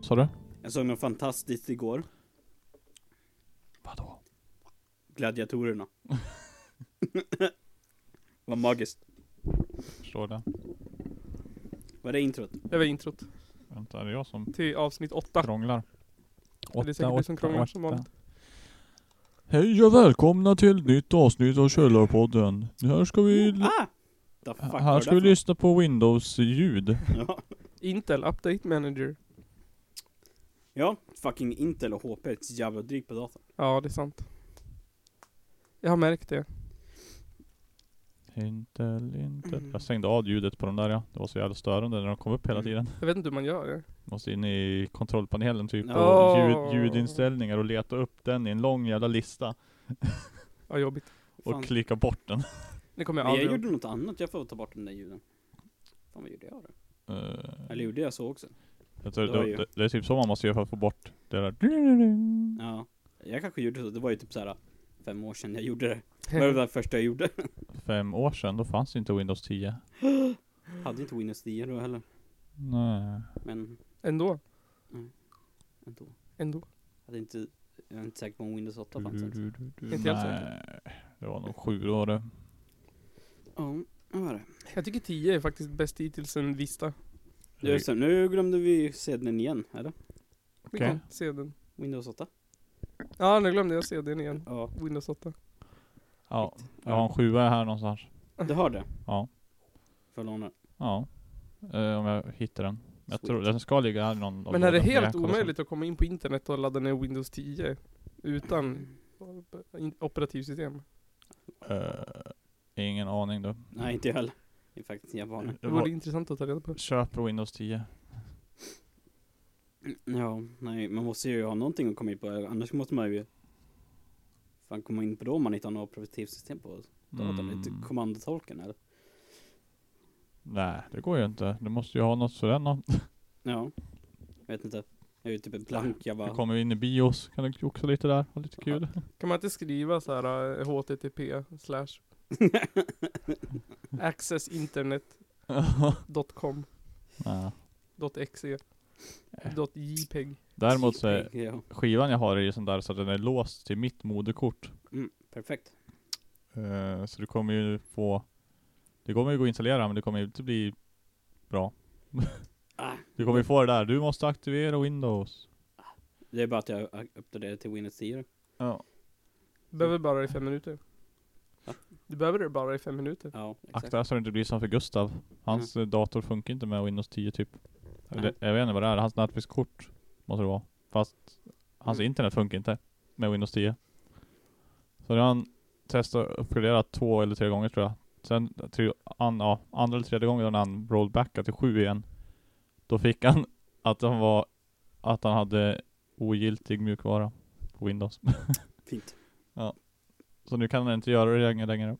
Sa du? Jag såg något fantastiskt igår. Vadå? Gladiatorerna. Vad magiskt. Förstår det. Var det introt? Det var introt Vänta, är det jag som till avsnitt åtta. krånglar? är säkert du som krånglar som vanligt. Hej och välkomna till ett nytt avsnitt av Källarpodden. Här ska vi, Ah! The fuck var här det ska vi där lyssna på Windows-ljud. för något? Intel Update Manager. Ja. ja, fucking Intel och HP är ett jävla drygt på datorn. Ja, det är sant. Jag har märkt det. Intel, Intel. Mm. Jag stängde av ljudet på de där ja. Det var så jävla störande när de kom upp hela Mm. tiden. Jag vet inte hur man gör det. Måste in i kontrollpanelen typ och Ja. ljud, ljudinställningar och leta upp den i en lång jävla lista. Ja, jobbigt. Och Fan. klicka bort den. Det kommer jag Men jag aldrig gjorde något annat, jag får ta bort den där ljuden. Fan vad gjorde jag då? Eh, Eller gjorde jag så också? jag tror, det var det, ju- det, det är typ så man måste göra för att få bort det där. Ja. Jag kanske gjorde så, det var ju typ såhär fem år sedan jag gjorde det. Det var det ihåg. där första jag gjorde. Fem år sedan, då fanns inte Windows 10. Hade inte Windows 10 då heller. Nej. Men Ändå. ändå. Ändå. Hade inte, jag är inte säker på om Windows 8 fanns ens. Mm-hmm. Inte Inte alls Det var nog sju år det. Ja, vad var det? Jag tycker 10 är faktiskt bäst hittills en lista. Just det, nu glömde vi sedeln igen, eller? Vi Okej. kan se den. Windows 8? Ja, nu glömde jag se den igen. Ja. Windows 8. Ja, jag har en sjua här någonstans. Du har det? Ja. Får jag låna den? Ja. Eh, om jag hittar den. Jag Sweet. tror den ska ligga här i någon av Men är det lådorna, jag helt kollar sen. omöjligt att komma in på internet och ladda ner Windows 10 utan in- operativsystem? Eh, ingen aning du. Nej, inte jag heller. Det är faktiskt en jävla aning. Eh, Det vore intressant att ta reda på. Köper Windows 10. Ja, nej, man måste ju ha någonting att komma in på, annars måste man ju fan komma in på då om man inte har något operativsystem på datorn. Mm. Inte kommandotolken eller? Nej, det går ju inte. Du måste ju ha något sådär. Ja. Jag vet inte. Jag är ju typ en blank Du jävla... kommer in i bios, kan du joxa lite där, ha lite kul. Kan man inte skriva så här eh, http slash accessinternet.com Nej. .exe .jpeg Däremot så är Ja, skivan jag har är ju sån där så att den är låst till mitt moderkort. mm, perfekt. Eh, så du kommer ju få Det kommer ju gå att installera men det kommer ju inte bli bra. Ah, Du kommer ju få det där, du måste aktivera Windows. det är bara att jag uppdaterar till Windows 10 då. Ja. Behöver bara i fem minuter Va? Du behöver det bara i fem minuter Ja, exakt. Mm. Akta så det inte blir som för Gustav. Hans eh, dator funkar inte med Windows 10 typ. Eller, jag vet inte vad det är, hans nätverkskort måste det vara. Fast hans Mm. internet funkar inte med Windows 10. Så det har han testat och uppgraderat två eller tre gånger tror jag. Sen till an, ja, andra eller tredje gången när han rollbackade till 7 igen. Då fick han att han var att han hade ogiltig mjukvara på Windows. Fint. Så nu kan han inte göra det längre. längre.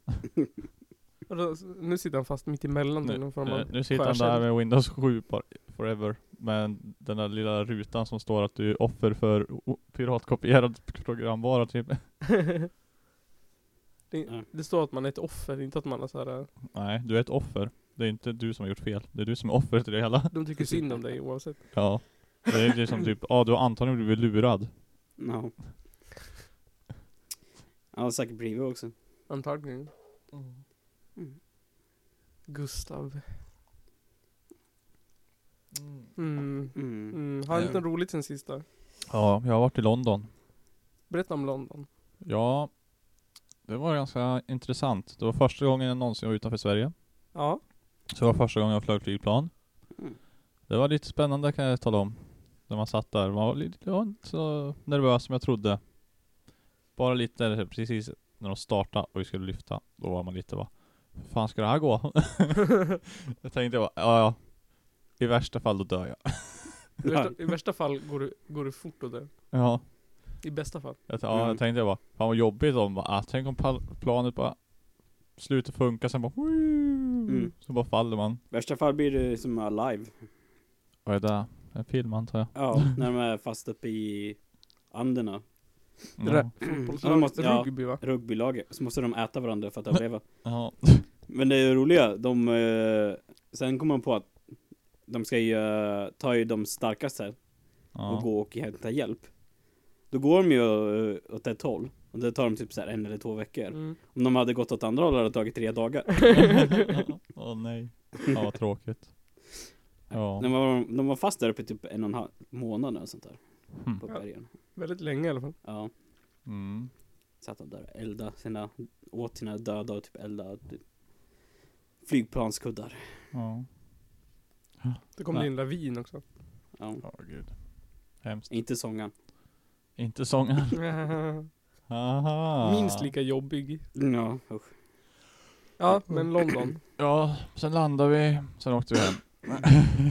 Och då, Nu sitter han fast mitt emellan i någon form Eh, av nu sitter han där skärselv. med Windows 7 par- forever. Med den där lilla rutan som står att du är offer för o- piratkopierad programvara typ. det, det står att man är ett offer, inte att man är så här. eh, Nej, du är ett offer. Det är inte du som har gjort fel. Det är du som är offret till det hela. De tycker synd om dig oavsett Ja. Det är liksom typ, ja du har antagligen blivit lurad. No. Ja, säkert blivit också. Antagligen Mm. Gustav mm. Mm. Mm. Har han inte roligt sen sista? Ja, jag har varit i London. Berätta om London Ja, det var ganska intressant. Det var första gången jag någonsin var utanför Sverige. Ja, Så det var första gången jag flög flygplan. Mm. Det var lite spännande kan jag tala om. När man satt där. Man var, lite, jag var inte så nervös som jag trodde. Bara lite precis när de startade och vi skulle lyfta. Då var man lite va. Hur fan ska det här gå? jag tänkte bara, ja ja. I värsta fall då dör jag. i värsta, i värsta fall går du, går du fort och dör Ja. I bästa fall Jag, t- ja, Mm. jag tänkte bara, fan vad jobbigt om bara, ah, tänk om pal- planet bara slutar funka sen bara, Mm. så bara faller man. Värsta fall blir det som Alive. Vad är det? En film antar jag. Ja, när de är fast uppe i Anderna. Ja. Rä- Ja, de måste- ja. Rugby va? Rugbylaget. Så måste de äta varandra för att överleva. Ja. Men det är ju roliga, de... Eh, sen kommer man på att de ska ju eh, ta ju de starkaste och Ja. gå och hämta hjälp. Då går de ju eh, åt ett håll. Och det tar de typ så här en eller två veckor. Mm. Om de hade gått åt andra hållet hade det tagit tre dagar. Åh nej. Ja, vad tråkigt. Ja. De, var, de var fast där uppe i typ en och en halv månad eller sånt där. Mm. På Ja. bergen. Väldigt länge i alla fall. Ja. Mm. Satt de där och elda sina, åt sina döda och typ elda typ, flygplanskuddar. Ja. Det kom Nej. det en lavin också. Ja. Ja, gud. Hemskt. Inte sången. Inte sången. Aha. Minst lika jobbig. Ja, usch. Ja, Mm. men London. Ja, sen landade vi, sen åkte vi hem.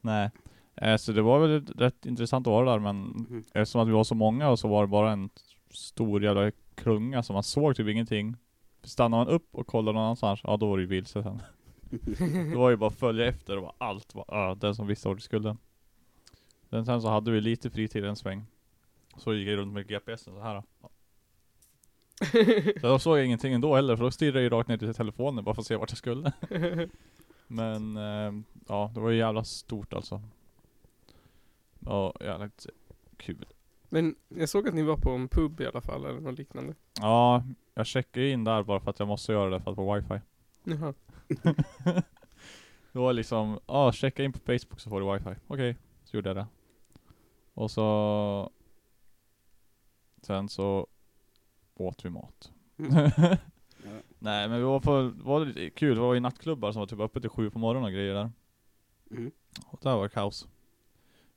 Nej. Eh, så det var väl rätt intressant att vara där men Mhm. eftersom att vi var så många och så var det bara en stor jävla klunga så man såg typ ingenting. Stannade man upp och kollade någon annanstans, ja då var det ju vilse sen. det var ju bara att följa efter och bara allt var ja, den som visste vart det skulle. Sen, sen så hade vi lite fritid en sväng. Så gick jag runt med GPSen så här. Då. Så då såg jag ingenting ändå heller för då stirrade jag ju rakt ner till telefonen bara för att se vart jag skulle. Men eh, ja, det var ju jävla stort alltså. Ja, jävligt kul. men jag såg att ni var på en pub i alla fall, eller något liknande. Ja, jag checkar ju in där bara för att jag måste göra det för att få wifi. Jaha. Det var liksom, ja checka in på Facebook så får du wifi. Okej, så gjorde jag det. Och så... Sen så åt vi mat. Mm. Nej men vi var på, var det lite kul, det var ju nattklubbar som var typ öppet till sju på morgonen och grejer där. Mm. Och där var det kaos.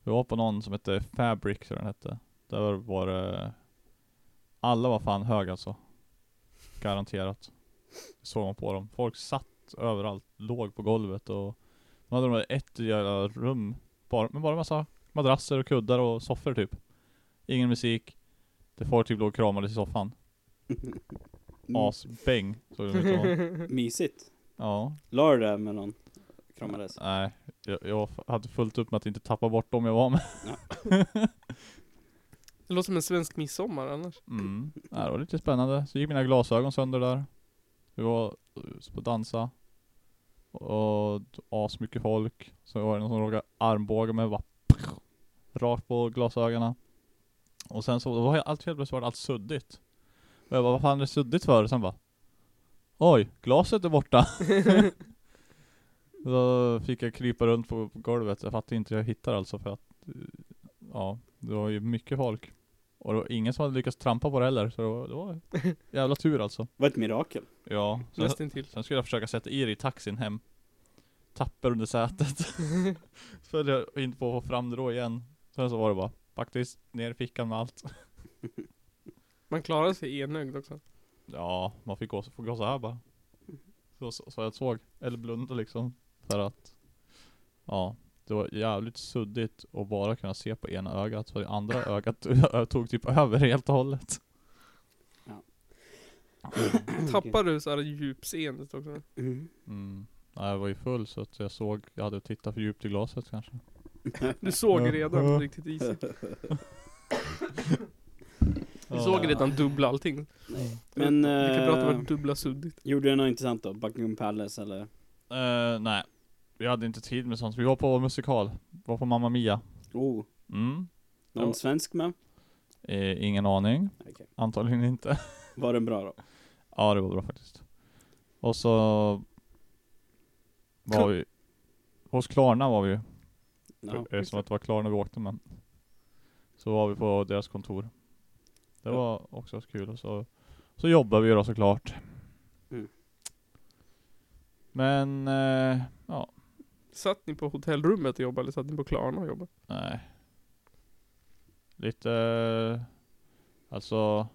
Vi var på någon som hette Fabric, tror jag den hette. Där var det... Alla var fan höga alltså. Garanterat. Såg man på dem. Folk satt överallt, låg på golvet och... De hade de där ett jävla rum, bara, men bara massa madrasser och kuddar och soffor typ. Ingen musik. Det folk typ låg och kramades i soffan. Mm. Asbäng, såg de ut som. Mm. Mysigt. Ja. La du det med någon? Kramades? Nej, jag, jag hade fullt upp med att inte tappa bort dem jag var med. Det låter som en svensk midsommar annars. Mm, ja, det var lite spännande. Så gick mina glasögon sönder där. Vi var eh, på dansa. Och asmycket folk. Så var det någon som råkade armbåga mig bara rakt på glasögonen. Och sen så då var jag allt helt plötsligt var det allt suddigt. Och jag bara, vad fan är det suddigt för? Och sen bara Oj, glaset är borta. då fick jag krypa runt på på golvet. Jag fattar inte hur jag hittar alltså för att eh, Ja, det var ju mycket folk. Och det var ingen som hade lyckats trampa på det heller, så det var, det var jävla tur alltså. Det var ett mirakel. Mm. Ja. Sen, Nästintill. sen skulle jag försöka sätta i det i taxin hem. Tapper under sätet. så höll jag inte på att få fram det då igen. Sen så var det bara, faktiskt, ner i fickan med allt. Man klarar sig enögd också. Ja, man fick gå, fick gå så här bara. Så, så, så jag såg. Eller blunda liksom. För att, ja. Det var jävligt suddigt att bara kunna se på ena ögat. För det andra ögat tog typ över helt och hållet. Tappar du så här djupseendet också? Mm. Mm. Nej, jag var ju full så att jag såg, jag hade tittat för djupt i glaset kanske. Du såg Ja. Ja. redan riktigt easy. Du Ja. såg redan dubbla allting. Men, Vi kan prata om eh, att dubbla suddigt. gjorde du något intressant då? Buckingham Palace eller? Eh, nej, vi hade inte tid med sånt. Vi var på musikal, var på Mamma Mia. Oh, Mm. någon Ja. svensk med? Eh, ingen aning, Okej. antagligen inte. Var den bra då? ja, det var bra faktiskt. Och så var vi, hos Klarna var vi ju. Ja. Eftersom att det var Klarna vi åkte med. Så var vi på deras kontor. Det Ja. var också kul och så, så jobbar vi ju då såklart. Mm. Men, eh, ja, Satt ni på hotellrummet och jobbade eller satt ni på Klarna och jobbade? nej. Lite, eh, alltså,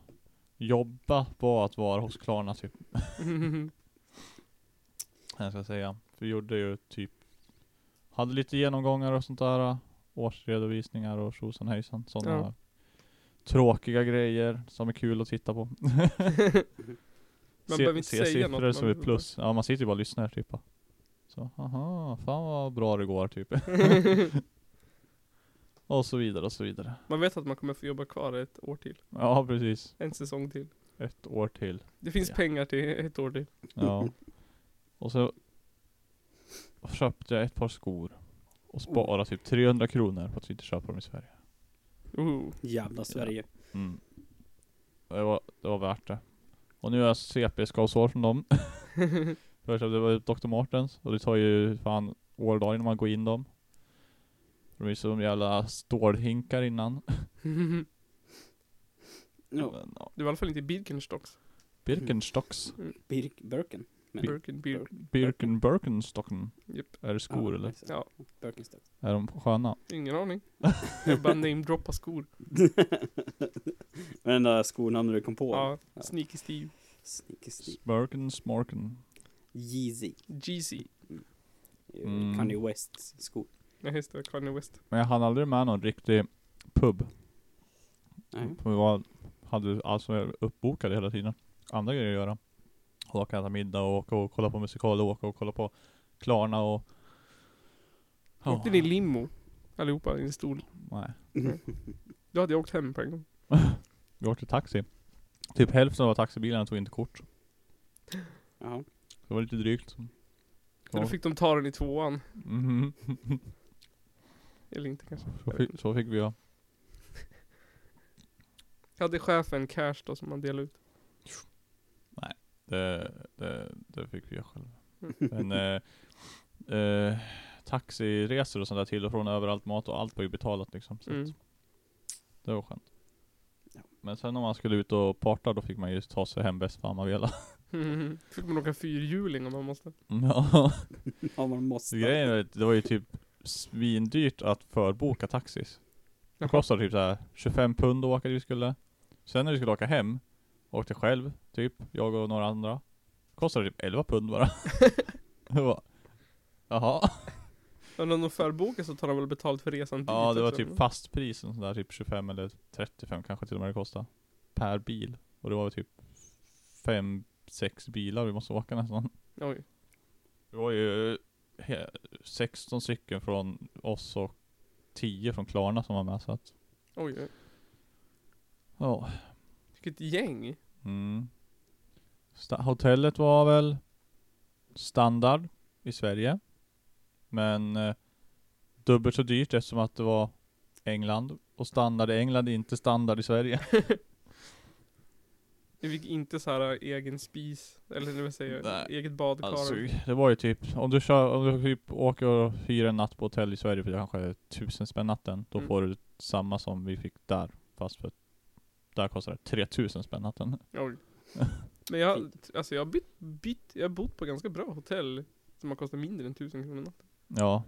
jobba på att vara hos Klarna typ. Jag ska säga. Vi gjorde ju typ, hade lite genomgångar och sånt där. Årsredovisningar och tjosan hejsan. Sådana Ja. tråkiga grejer som är kul att titta på. Man se, behöver inte se säga siffror något. som är plus. Ja man sitter ju bara och lyssnar typ. bara. Så, aha, fan vad bra det går typ. Och så vidare och så vidare. Man vet att man kommer få jobba kvar ett år till. Ja, precis. En säsong till. Ett år till. Det finns Ja. pengar till ett år till. Ja. Och så köpte jag ett par skor. Och sparade typ 300 kronor på att inte köpa dem i Sverige. Oh. Jävla Sverige. Mm. Det, var, det var värt det. Och nu är jag CP-skavsår från dem. För jag köpte var Dr. Martens och det tar ju fan år och dagar innan man går in dem. De är ju som jävla stålhinkar innan. Ja, Men, ja. Du var i alla fall inte i Birkenstocks. Birkenstocks. Birk, Birken. Men- Birken, bir- Birken Birkenstocken. Japp. Är det skor Ja, eller? exakt. Ja, Birkenstock. Är de sköna? ingen aning. Jag bara namedroppa skor. Men den där skonamnet du kom på. Ja, Sneaky Steve, Sneaky sneak. Birken Smorken. Yeezy. Eh, Jeezy. Mm. Kanye Wests skor. Nej just det, Kanye West. Men jag hann aldrig med någon riktig pub. Nej. Vi var, hade alltså uppbokade hela tiden. Andra grejer att göra. Åka och äta middag och åka och kolla på musikal och åka och kolla på Klarna och... Ja. Åkte ni limo? Allihopa i en stol. Nej. Då hade jag åkt hem på en gång. Vi åkte taxi. Typ hälften av taxibilarna tog inte kort. Jaha. Det var lite drygt. Men då fick de ta den i tvåan. Mhm. Eller inte kanske. så, fick, så fick vi ja. Hade chefen cash då som man delade ut. Det, det, det fick vi själva. Men eh, eh, taxiresor och sånt där till och från överallt, mat och allt var ju betalat liksom. Så Mm. att det var skönt. Ja. Men sen om man skulle ut och parta då fick man ju ta sig hem bäst fan man ville. Mhm. Fick man åka fyrhjuling om man måste. Ja. Ja, man måste. Så grejen är att det var ju typ svindyrt att förboka taxis. Det kostade typ så här 25 pund att åka dit vi skulle. Sen när vi skulle åka hem, åkte själv, typ, jag och några andra. Kostade typ 11 pund bara. det var, jaha. Men om de förbokar så tar de väl betalt för resan dit Ja det var också? typ fast pris, en sån där typ 25 eller 35 kanske till och med det kostade. Per bil. Och det var väl typ fem sex bilar vi måste åka nästan. Oj. Det var ju he- 16 stycken från oss och 10 från Klarna som var med så att, Oj, oj. ja. Vilket gäng. Mm. Sta- hotellet var väl standard i Sverige. Men eh, dubbelt så dyrt eftersom att det var England. Och standard i England är inte standard i Sverige. Vi fick inte så här egen spis, eller det vill säga Nej. eget badkar. Alltså, det var ju typ, om du, kör, om du typ åker och hyr en natt på hotell i Sverige för det kanske är tusen spänn natten. Då Mm. får du samma som vi fick där. Fast för där kostar det 3000 spänn natten. Oj. Men jag, alltså jag har bytt, bytt, jag har bott på ganska bra hotell som har kostat mindre än 1000 kronor. Men Ja.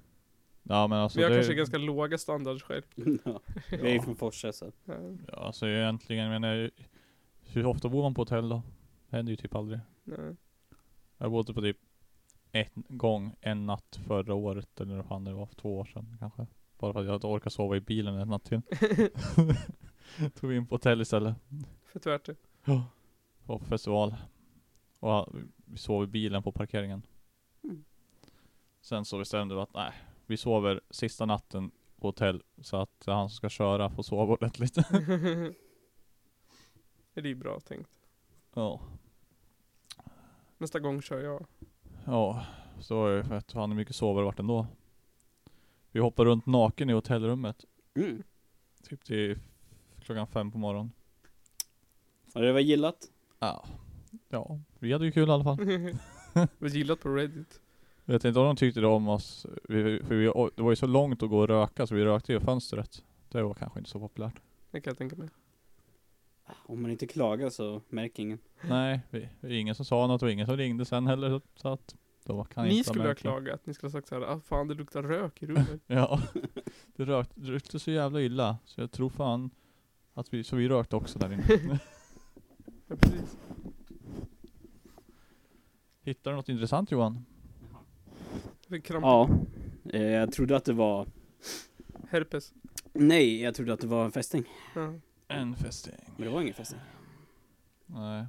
Ja men alltså jag har det- kanske ganska låga standards själv. ja. Vi är ju från Forsa så. Ja, Ja, alltså egentligen, men jag, hur ofta bor man på hotell då? Det händer ju typ aldrig. nej. Jag bodde på typ en gång, en natt förra året, eller vad fan det var, för två år sedan kanske. Bara för att jag inte orkade sova i bilen en natt till. Tog vi in på hotell istället. För tvärt det. Ja. Var på festival. Och ja, vi sov i bilen på parkeringen. Mm. Sen så bestämde vi att nej, vi sover sista natten på hotell. Så att han som ska köra får sova ordentligt. Det är ju bra tänkt. ja. Nästa gång kör jag. Ja, så var jag fett fan hur mycket sovare vart ändå. Vi hoppade runt naken i hotellrummet, Mm. typ till klockan fem på morgonen. Har det varit gillat? Ja. Ja, vi hade ju kul i alla fall. Vad gillat på Reddit. Jag Jag vet inte om de tyckte det om oss, vi, för vi, det var ju så långt att gå och röka så vi rökte i fönstret. Det var kanske inte så populärt. kan jag tänka mig. Ah, Om man inte klagar så märker ingen. Nej, vi, det var ingen som sa något och ingen som ringde sen heller. Så att, då kan ni inte ha skulle ha märkt något. klagat. Ni skulle ha sagt så här, ah, fan det luktar rök i rummet. Ja. Det rökt- det rökte så jävla illa, så jag tror fan att vi, så vi rökte också där inne. ja, precis. Hittar du något intressant Johan? Jag fick kramp. Ja. Eh, Jag trodde att det var... Herpes. Nej, jag trodde att det var en fästing. Ja. En fästing. Men det var ingen fästing. Nej.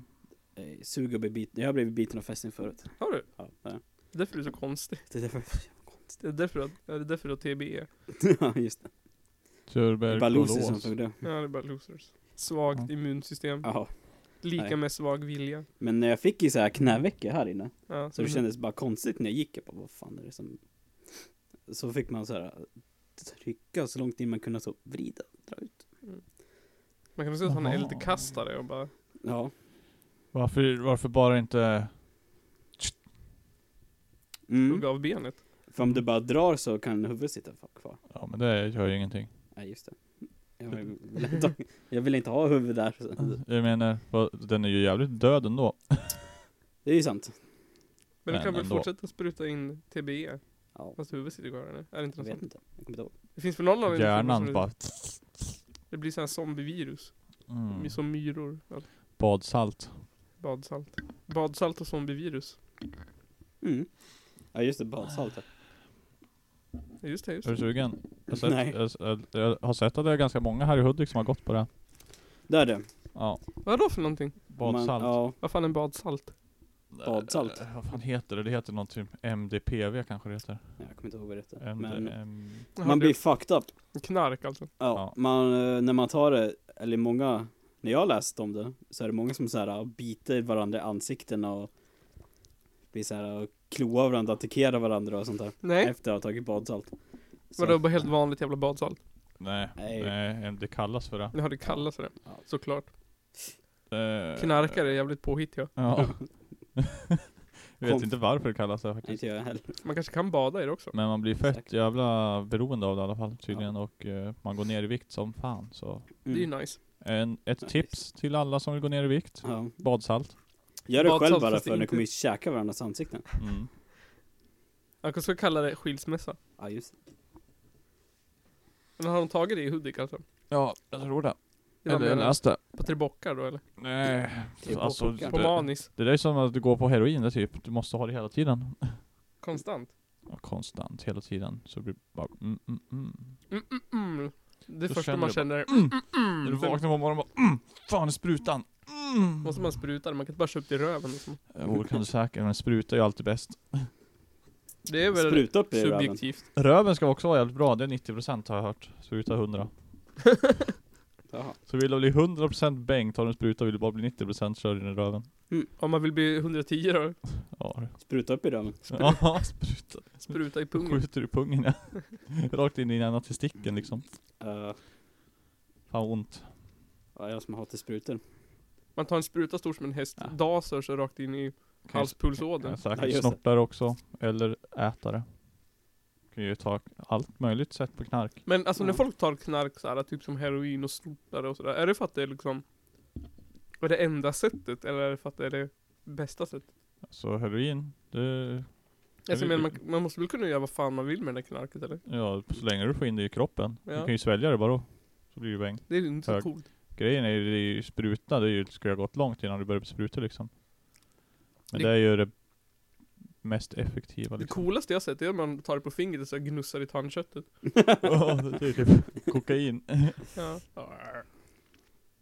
Eh, Sug och bli biten. Jag har blivit biten av fästing förut. Har du? Ja, där. Det är därför du är så konstig. det är därför... E, Det är därför, att- det är därför du har TBE. ja, just det. Det är bara losers som Tuberkulos. tog det. Ja, det är bara losers. Svagt Ja. immunsystem. Ja. Lika Nej. med svag vilja. Men jag fick ju så här knäveckor här inne. Ja, Så det men- kändes bara konstigt när jag gick. Jag bara, vad fan är det som... Så fick man så här trycka så långt in man kunde så vrida, dra ut. Man kan väl säga att han är Jaha. eldkastare och bara... Ja. Varför, varför bara inte... Mm. hugga av benet. För om du bara drar så kan huvudet sitta kvar. Ja men det gör ju ingenting. Nej, just det. Jag vill, inte, jag vill inte ha huvud där. så- Jag menar, vad- den är ju jävligt död ändå. Det är ju sant. Men du Men kan väl ändå. fortsätta spruta in TBE? Ja, Fast huvudet sitter kvar eller? Är det jag inte något vet sånt? inte. Jag kommer inte ihåg. Det finns väl någon av Hjärnan bara... Det blir såhär zombievirus. Mm. Som myror. Ja, Badsalt. Badsalt. Badsalt och zombievirus. Mm. Ja, just det. Badsaltet. Ja, Just det, just Är du det. sugen? Jag, har Nej. sett, jag, jag, jag har sett att det är ganska många här i Hudik som har gått på det. Där är det. Ja. Vad då för någonting? Badsalt. Man, ja, Vad fan är badsalt? badsalt. Eh, Vad fan heter det? Det heter typ någonting MDPV kanske det heter. nej, jag kommer inte ihåg vad det heter. MD, Men em, Jaha, man det- blir fucked up. Knark alltså. Ja, Ja. Man, eh, när man tar det, eller många, när jag har läst om det, så är det många som så här biter varandra i ansiktena och blir så här och kloar varandra, attackerar varandra och sånt där. Nej, Efter att ha tagit badsalt. Så- vadå bara helt vanligt jävla badsalt? nej, Nej. nej, em, det kallas för det. Jag hade kallat för det. Ja. Såklart. Eh, Knarkare är jävligt påhittiga. Ja. jag vet Konf- inte varför det kallas det faktiskt. Inte jag heller. Mm. Man kanske kan bada i det också. Men man blir fett Säkert. jävla beroende av det i alla fall tydligen och eh, man går ner i vikt som fan så. Mm. Det är ju nice. En, ett Ja, tips till alla som vill gå ner i vikt. Ja. Badsalt. Gör det Badsalt själv bara fast för ni inte- kommer ju käka varandras ansikten. Mm. Jag kanske ska kalla det skilsmässa. Ja, just det. Men har de tagit det i Hudik alltså? Ja, jag tror det. I de- läste. På Tre Bockar då eller? Nej, Det är på alltså. puckar. Det, På Manis? det där är som att du går på heroin det typ. Du måste ha det hela tiden. Konstant? Ja, konstant hela tiden. Så blir det bara mm, mm, mm. Mm, mm, mm. Då Det första känner man du känner, mm, När du sen- vaknar på morgonen bara mm, fan är sprutan. Mm. måste man spruta det, man kan inte bara köpa det i röven liksom. Jo, det kan du säkert, men spruta är ju alltid bäst. Det är väl Spruta upp i röven. subjektivt. Röven ska också vara jävligt bra, det är 90% har jag hört. Spruta 100. Jaha. Så vill du bli 100% bäng, tar du en spruta, vill du bara bli 90% kör du den i röven. Om man vill bli 110 då, Ja, Spruta upp i röven. ja spruta. spruta i pungen. Skjuter i pungen ja. Rakt in i den ena testikeln liksom. Eh, Fan vad ont. ja, jag som hatar sprutor. Man tar en spruta stor som en häst, Ja. daser så rakt in i halspulsådern. Kan Ja, säkert just det. snortare också, eller ätare. Kan ju ta allt möjligt sätt på knark. Men alltså när Ja. folk tar knark så här, typ som heroin och snuttar och sådär, är det för att det är liksom är det enda sättet eller är det för att det är det bästa sättet? Så heroin, det... Alltså, men man, man måste väl kunna göra vad fan man vill med det där knarket eller? Ja, så länge du får in det i kroppen. Ja. Du kan ju svälja det bara då. Så blir du bäng. Det är ju inte så Hög. coolt. Grejen är ju, det är ju spruta, det är ju, det skulle ha gått långt innan du började spruta liksom. Men Det- det, är ju det mest effektiva Det liksom. coolaste jag sett är om man tar det på fingret och så gnussar i tandköttet. Ja, det är typ kokain. Ja.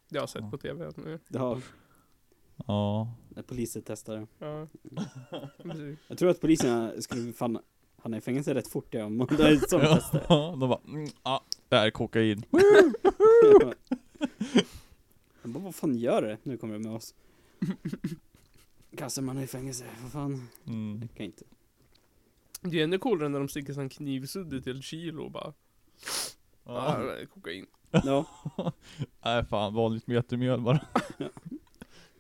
Det har jag sett på alltså. tv. nu. Ja, Ja. när polisen testar det. Ja. Precis. Jag tror att polisen skulle fan, han är i fängelse rätt fort ja, om det är ett sånt ja. test. De bara, mm, ah, det här är kokain. Han bara, vad fan gör det? Nu kommer det med oss. Kastar man i fängelse, vad fan. Mm. Kan inte. Det är ännu coolare när de sticker sån knivsudde till ett kilo och bara ah, Ja. det är kokain. Ja, Nej fan, vanligt metermjöl bara.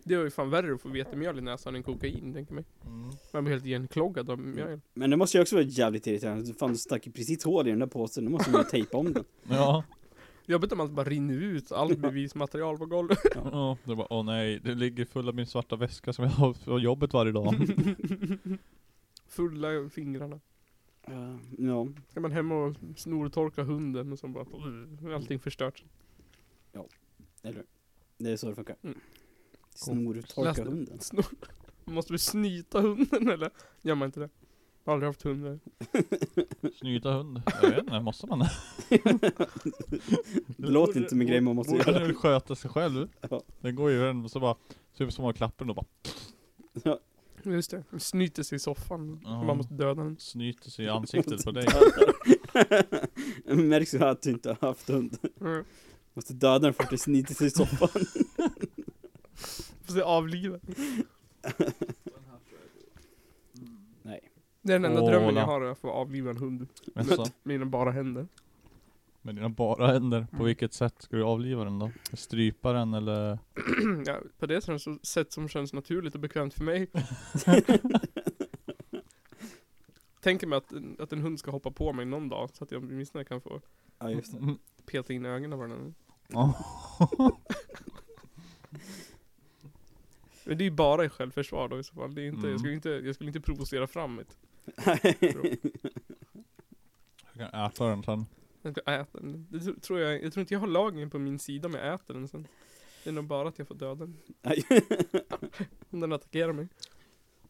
Det är ju fan värre att få vetemjöl i näsan än kokain, tänker mig. Mm. Man blir helt igenkloggad av mjöl. men det måste ju också vara jävligt irriterande. Fan, du stack ju precis hål i den där påsen. Nu måste man ju tejpa om den. Ja. Jobbigt om allt bara rinner ut, allt bevismaterial på golvet. ja. Det bara, åh nej, det ligger full av min svarta väska som jag har på jobbet varje dag. Fulla fingrarna. Ja, ja. Ska man hem och snortorka hunden och så bara allting förstört. eller Det är så det funkar. Mm. Snortorka Läste- hunden. Snor. Måste vi snyta hunden eller? Gör man inte det? Jag har aldrig haft hundar. Snyta hund. Jag vet inte, måste man det? Det låter inte som en grej man måste Borde göra. den väl sköta sig själv? Ja. Den går ju den och så bara, typ som man klappar den och bara Just det. Snyter sig i soffan. Ja. Man måste döda den. snyter sig i ansiktet på dig. Märks ju att du inte har haft hund. Mm. Måste döda den för att du snitit sig i soffan. Får se avliva. Nej. Det är den enda Åh, drömmen Ola. jag har, att få avliva en hund. Men så, Mina bara händer. med dina bara händer, på Mm. vilket sätt ska du avliva den då? Strypa den eller? ja, på det sättet så- sätt som känns naturligt och bekvämt för mig. Tänker mig att, en- att en hund ska hoppa på mig någon dag, så att jag åtminstone kan få Ja just det. Mm. peta in ögonen på den. Men det är ju bara i självförsvar då i så fall. Det är inte, Mm. jag, skulle inte, jag skulle inte provocera fram ett Jag kan äta den sen. Jag ska äta den. Det tro- tror jag, jag tror inte jag har lagen på min sida om jag äter den sen. Det är nog bara att jag får döda den. Nej. Om den attackerar mig.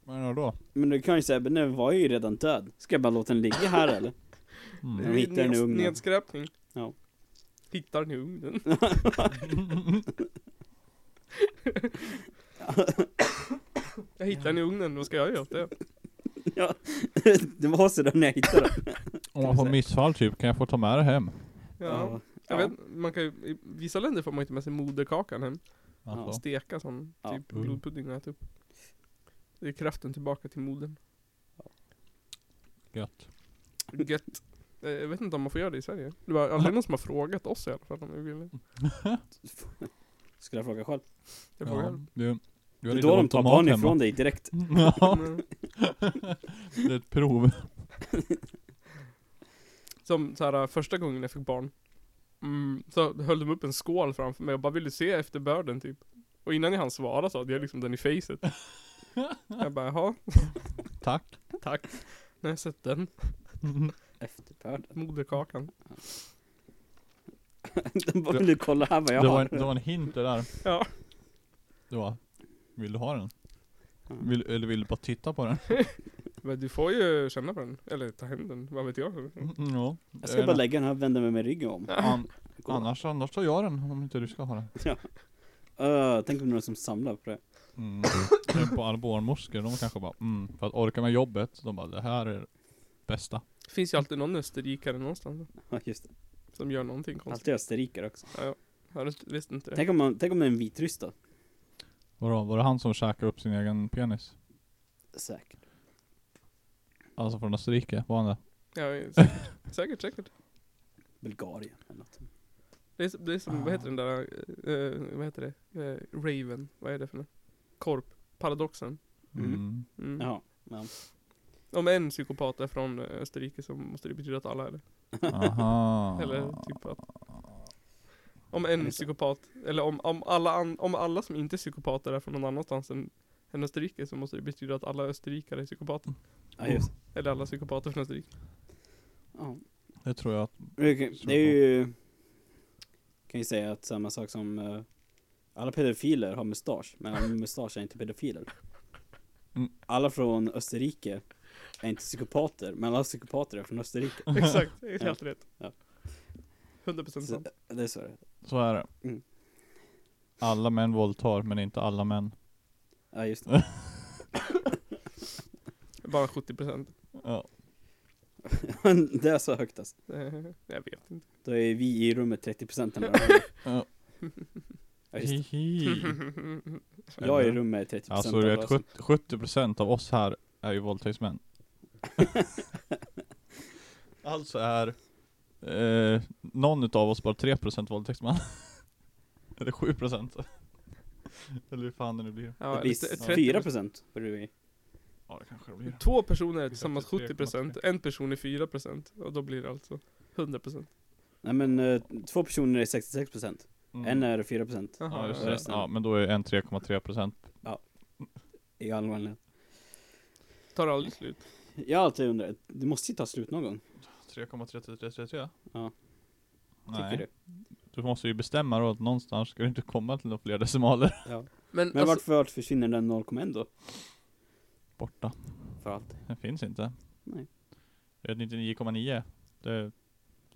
Men då? Men du kan ju säga, men den var ju redan död. Ska jag bara låta den ligga här eller? Det Mm. Mm. är hittar den i neds- ugnen. Nedskräpning. Ja. Hittar den i ugnen. Jag hittar den i ugnen, vad ska jag göra åt det? Ja, det var sådär när jag hittade den. Om man får missfall typ, kan jag få ta med det hem? Ja. Jag Ja. vet, man kan ju, i vissa länder får man inte med sig moderkakan hem. Alltså. Steka sån, Ja. typ Mm. blodpudding och äta upp. Det är kraften tillbaka till modern. Gött. Gött. Eh, Jag vet inte om man får göra det i Sverige. Det var aldrig någon som har frågat oss i alla fall om vi ville. Skulle jag fråga själv. Jag Ja, frågar. du, Det du har är lite då de ont om tar mat barn hemma. ifrån dig direkt. Ja, Mm. det är ett prov. Som så här första gången jag fick barn mm, Så höll de upp en skål framför mig och bara ville se efter börden typ Och innan jag hann svara så hade jag liksom den i facet Jag bara jaha, Tack. tack Nu har jag sett den, Efterbörden. moderkakan De bara, vill du kolla här vad jag Det var, en, har? det var en hint det där. Ja. Det var, vill du ha den? Ja. Vill, eller vill du bara titta på den? Men du får ju känna på den, eller ta hem den, vad vet jag Mm, ja. Jag ska bara lägga den här och vända mig med ryggen om. An, Gå. annars, annars tar jag den om inte du ska ha den. Öh, tänk om det är någon som samlar på det. Mm. Tänk på alla barnmorskor, de kanske bara mm, för att orka med jobbet, de bara det här är det bästa. Finns ju alltid någon österrikare någonstans Ja just det. Som gör någonting konstigt Alltid österrikare också. Har du inte- visst inte det? Tänk om, man, tänk om det är en vitryss då? Vadå, var det han som käkade upp sin egen penis? Säkert. Alltså från Österrike, var han det? Ja, säkert, säkert, säkert Bulgarien eller något. Mm. Det är, som- det är som, vad heter den där, eh, vad heter det? Eh, Raven, vad är det för något? Korp, paradoxen Mm. Mm. mm. Jaha. Ja. Om en psykopat är från eh, Österrike så måste det betyda att alla är det. Aha. Eller typ att Om en Ah. Just det. psykopat, eller om, om, alla, an, om alla som inte är psykopater är från någon annanstans än, än Österrike så måste det betyda att alla österrikare är psykopater. Ja just Eller alla psykopater från Österrike. ja. Det tror jag att, Det kan- det är ju... Kan ju säga att samma sak som... eh, alla pedofiler har mustasch, men alla med mustasch är inte pedofiler. Mm. Alla från Österrike är inte psykopater, men alla psykopater är från Österrike. Exakt, det är helt rätt. Ja. 100% Så, sant. det är så det är. så är det. Mm. Alla män våldtar, men inte alla män. Ja, just det. Bara 70%. Ja. det är så högt alltså. Eh, jag vet inte. Då är vi i rummet 30% eller Ja. ja, just det. Hihi. Jag är i rummet 30% Alltså du alla vet, avsnitt. 70% 70% av oss här är ju våldtäktsmän. alltså är eh, någon utav oss bara 3% våldtäktsman. Eller 7%. Eller hur fan det nu blir. Ja, Det blir lite- 4% för du är... Ja det kanske det blir. Två personer är tillsammans 70%, en person är 4% och då blir det alltså 100%. Nej men, eh, två personer är 66%. Mm. En är 4% Ja, Jaha, just och det. resten- ja men då är en 3,3% i allmänhet. Tar aldrig slut. Jag har alltid undrat, det måste ju ta slut någon gång, 3,3333? Ja. Nej. tycker du? Du måste ju bestämma då att någonstans ska du inte komma till några fler decimaler. Ja. Men, Men alltså, varför, varför försvinner den 0,1 då? Borta. För alltid. Den finns inte. Nej. Det är 99,9. Det,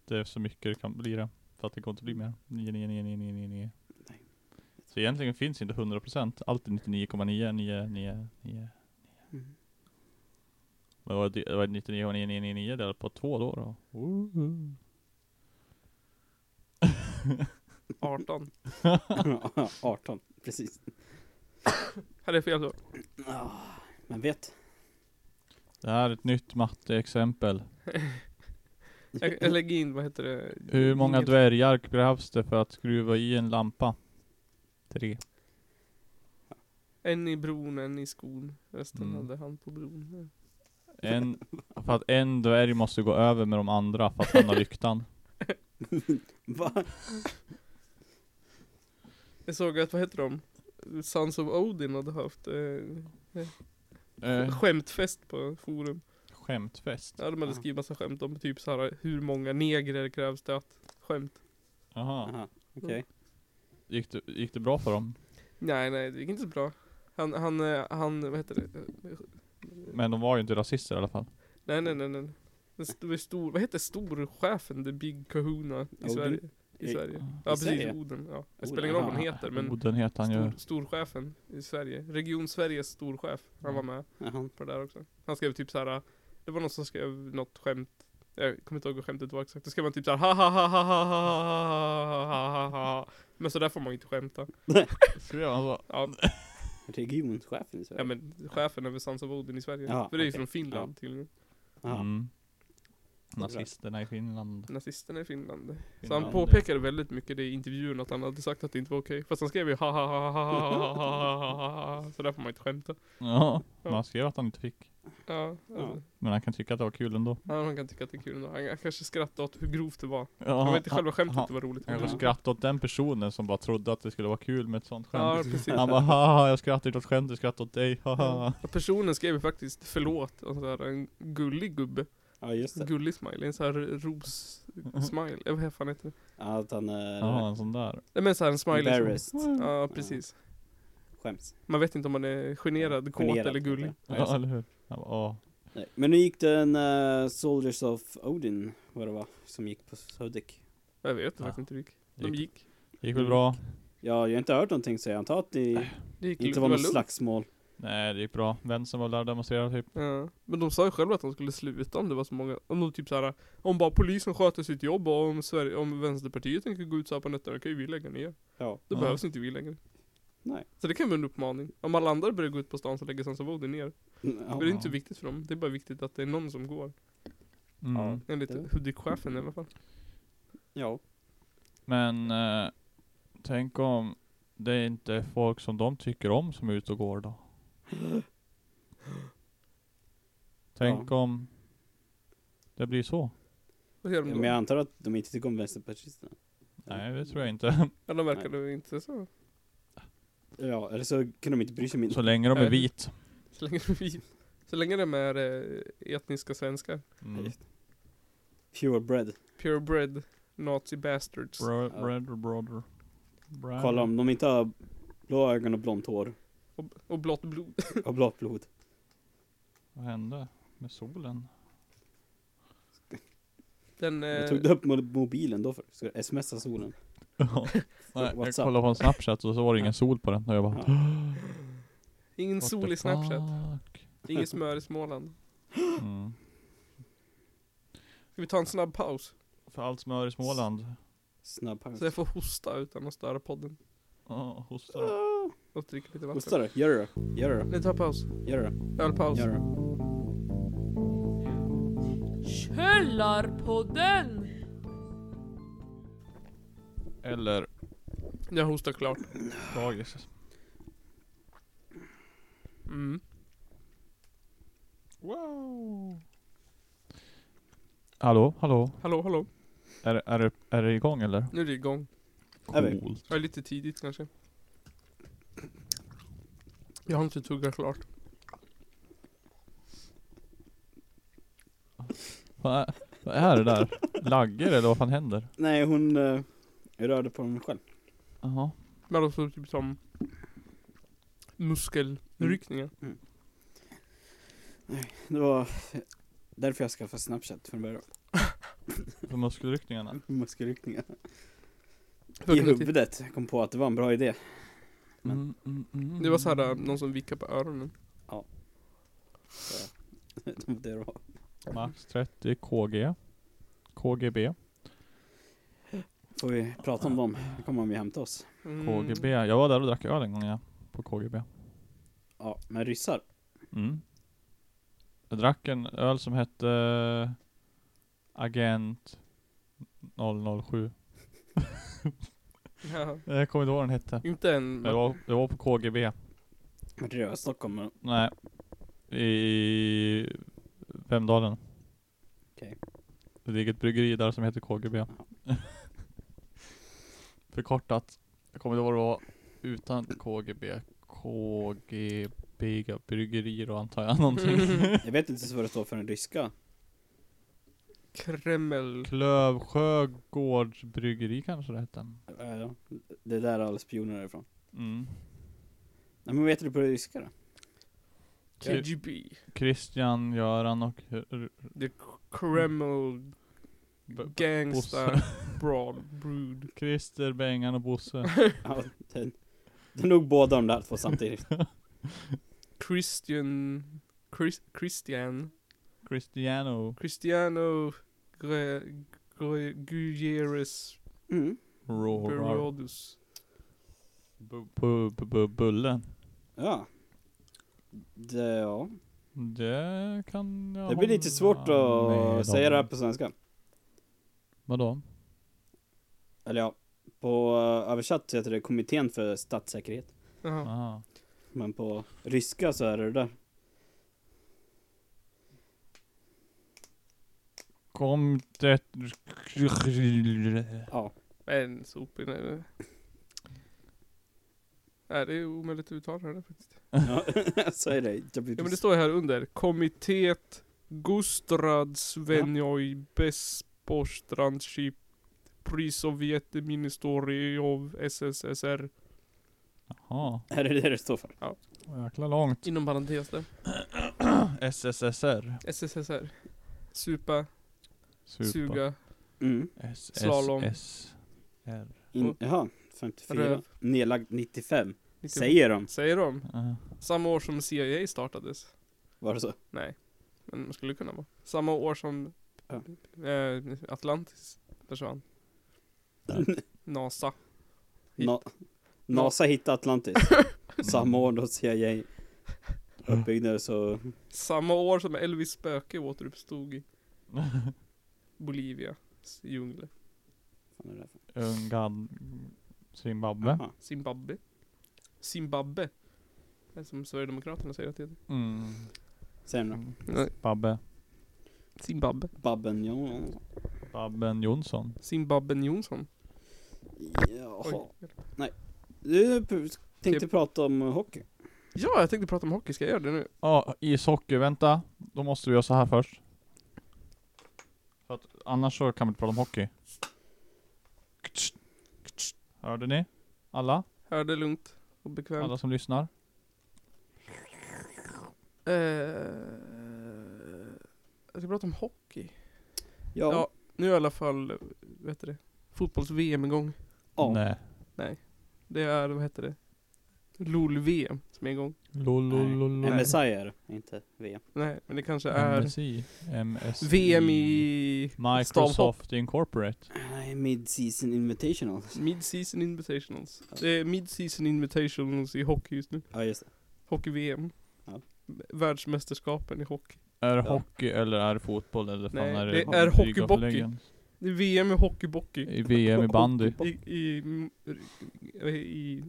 det är så mycket det kan bli det. För att det kommer inte bli mer. 999999. Nej. Så egentligen finns inte 100%. Allt är 99,99999. Men vad det det var 99,999 delat på två då då? Woohoo. 18. 18, precis. Här är fel då. Ah, Men vet. Det här är ett nytt matteexempel. Jag, jag lägger in, vad heter det? Hur många Inget- dvärgar behövs det för att skruva i en lampa? Tre. En i bron, en i skon. Resten Mm. hade han på bron. En, för att en dvärg måste gå över med de andra för att han har lyktan. Va? Jag såg att, vad heter de? Sons of Odin hade haft eh, Eh, skämtfest på forum. skämtfest. Ja, de hade Ja. skrivit massa skämt om typ så här hur många negrer krävs det att skämt. Jaha. Aha, Okej. Gick det, gick det bra för dem? Nej, nej, det gick inte så bra. Han, han, eh, han, vad heter det? Eh, Men de var ju inte rasister i alla fall. Nej, nej, nej, nej. Det st- det var stor, vad heter storchefen, the big kahuna i Odin? Sverige? I I- Sverige. Ja, i precis, Sverige? Oden. Ja. Det Oden, spelar ingen roll vad han ja. heter, men Oden heter han ju. stor, storchefen i Sverige. Region Sveriges storchef. Han Mm. var med Jaha. på det där också. Han skrev typ så här. det var någon som skrev något skämt. Jag kommer inte ihåg vad skämtet var exakt. Då skrev man typ såhär ha ha ha ha ha ha ha ha ha ha Men så där får man ju inte skämta. Skrev han så? Ja, Regionschefen i Sverige? ja men chefen över Sons of Odin i Sverige. Ja, För det är ju okej. från Finland till Aha. Mm. Nazisterna i Finland. nazisterna i Finland. Så Finland, han påpekade väldigt mycket det i intervjun att han hade sagt att det inte var okej. Fast han skrev ju ha ha ha ha ha ha ha ha ha ha Så där får man inte skämta. Ja, men han skrev att han inte fick. Ja, alltså, Ja. Men han kan tycka att det var kul ändå. han kan tycka att det är kul ändå. Han kanske skrattade åt hur grovt det var. Ja, Jag vet inte han- själva skämtet han- att det var roligt. Jag Ja. kanske skrattade åt den personen som bara trodde att det skulle vara kul med ett sånt Ja, skämt. precis. han bara haha, jag skrattar inte åt skämt, jag skrattar åt dig, haha. Ja, Personen skrev ju faktiskt förlåt, och så här, en gullig gubbe. Ja, just det. Gullig smiley, en sån här Uh-huh. ros-smile. Jag vet inte fan heter det. Ja, Att han Jaha, är en sån där. Nej men så här en smiley. som- embarrassed. Ja precis. Skäms. Man vet inte om man är generad, kåt Generad, eller gullig. kanske. Ja, eller hur? Han bara, "Åh." Nej. Men nu gick den eh, Soldiers of Odin, vad det var, som gick på Södik. Jag vet Ja. faktiskt inte hur det gick. Det De gick- gick. Gick väl bra? Ja, jag har inte hört någonting så jag antar att det Det gick inte lugnt. var Det något lugnt. slagsmål. Nej, det gick bra. Vänstern var där och demonstrerade typ. Ja. Men de sa ju själva att de skulle sluta om det var så många. Om de typ så här. Om bara polisen sköter sitt jobb och om, Sverige, om Vänsterpartiet tänker gå ut så här på nätterna kan ju vi lägga ner. Ja. Då Ja. behövs inte vi längre. Nej. Så det kan vara en uppmaning. Om alla andra börjar gå ut på stan så lägger Sansa Woden ner. Ja. Men det är inte så viktigt för dem. Det är bara viktigt att det är någon som går. Mm. Ja. Enligt Det- Hudik-chefen i alla fall. ja. Men eh, tänk om det är inte är folk som de tycker om som är ute och går då? Tänk om det blir så? Vad gör de Men jag då? antar att de inte tycker om vänsterpartisterna. Nej, det tror jag inte. Ja, de verkar ju inte så. Ja, eller så kan de inte bry sig mindre. Så länge de är Nej. vit. Så länge de är, så länge de är eh, etniska svenskar. Mm. Purebred. Purebred Nazi bastards. Bro, Ja. brother, brother. Brother. Kolla om de inte har blå ögon och blont hår Och, och blått blod. och blått blod. Vad hände med solen? Den, Jag eh, tog upp mo- mobilen då för. Ska du smsa solen? Nej, jag WhatsApp. kollade på en Snapchat och så var det ingen sol på den. Och jag bara, Ja. ingen what sol the i Snapchat. fuck? Ingen smör i Småland. Mm. Ska vi ta en snabb paus? För allt smör i Småland. Snabb paus. Så jag får hosta utan att störa podden. Ja, hostar. Och dricka lite vatten. Hostar du? Gör det då. Gör det Nej, ta paus. då. Gör det då. Ölpaus. Gör det då. Källarpodden! Eller Jag hostar klart. dagis. Mm. Wow. Hallå, hallå. Hallå, hallå. Är, är, det- är det igång eller? Nu är det igång. Är vi? Jag är lite tidigt kanske. Jag har inte tuggat klart. Vad är, vad är det där? Lagger eller vad fan händer? Nej, hon eh, rörde på den själv. Jaha. Men alltså typ som muskelryckningar. Mm. Det var därför jag skaffade Snapchat från början. För muskelryckningarna. Mm. Muskelryckningar. För att I kunna titta. huvudet. Jag kom på att det var en bra idé. Mm, mm, mm. äh, äh, Det var så här någon som vickade på öronen. Det är bra. Max 30 KG. KGB. Får vi prata om dem? Då kommer de ju hämta oss. Mm. KGB. Jag var där och drack öl en gång ja. På KGB. Ja, men ryssar. Mm. Jag drack en öl som hette eh, Agent 007. Ja. Jag Eh, kommer inte ihåg vad den hette. Inte en... Jag var, jag var på KGB. Rödstockholm. men- Nej. I Vemdalen. Okej. Det ligger ett bryggeri där som heter KGB. Förkortat. Jag kommer inte ihåg vad det var utan KGB. KGB bryggerier och antar jag någonting. Jag vet inte ens vad det står för den ryska. Kreml. Klövsjö gårdsbryggeri kanske det hette. Eh, Det är där alla spioner är ifrån. Mm. Nej, men vet du på det ryska då? Kr- KGB. Christian, Göran och R- R- Kreml. B- Gangsta. Bosse. Broad. Brood. Christer, Bengan och Bosse. Ja, det, det är nog båda de där två samtidigt. Christian. Chris, Christian. Cristiano Cristiano. Gre- Gre- Gutierrez. Mm. Rorar. Berardus. Bu- bu- bu- bu- Bullen. Ja. Det, ja. Det kan jag det blir lite hålla svårt med om. att säga det här på svenska. Vadå? Eller ja, på eh, översatt så heter det Kommittén för statssäkerhet. Jaha. Aha. Men på ryska så är det det där. Kom det... Ja. En sopig nej. Nej det är omöjligt att uttala det där faktiskt. ja. så är det. Jag blir Ja men det står ju här under. Komitet Gustrad Svenjoj Bespostrandskip Prisovjetministeriov SSSR. Jaha. Är det det det står för? Jäkla långt. Inom parentes där. SSSR. SSSR. Supa, Supa. suga, Mm. Slalom. SSSR. In, jaha, 54. Röv. Nedlagd 95. lite- Säger de. Säger de. Eh, Samma år som CIA startades. Var det så? Nej. Men man skulle kunna vara. Samma år som eh, Atlantis försvann. NASA. Hit. Na, NASA hittade Atlantis. Samma år då CIA uppbyggnad så... Samma år som Elvis spöke återuppstod i Bolivias djungler. Fan är det där för- Ungarn. Zimbabwe. Jaha. Zimbabwe. Zimbabwe. Det är som Sverigedemokraterna säger att det heter. Mm. Säger de då? Babbe. Zimbabwe. Babben ja. Babben Jonsson. Zimbabwen Jonsson. Jaha. Oj. Du p- tänkte Det- prata om hockey. Ja, jag tänkte prata om hockey. Ska jag göra det nu? Ja, ishockey. Vänta. Då måste vi göra så här först. För att annars så kan vi inte prata om hockey. Hörde ni? Alla? Hör det lugnt och bekvämt. Alla som lyssnar? Eh, jag ska prata om hockey. Ja. Ja. Nu är i alla fall, vad heter det? Fotbolls-VM igång. ja. Nej. Det är, vad heter det? LOL-VM som är igång. Lolololol. MSI är det, inte VM. Nej, men det kanske Mm, är MSI. MSI. VM i stavhopp. Microsoft Incorporate. Nej, Mid-season invitational. Mid-season invitationals. Det är mid-season invitationals i hockey just nu. Ja, just det. Hockey-VM. Ja. Världsmästerskapen i hockey. Är det Ja. hockey eller är det fotboll eller fan Nej, är det? det är dyk- hockeybockey. uppläggen? Det är VM i hockeybockey. I VM i bandy. I, i, i, i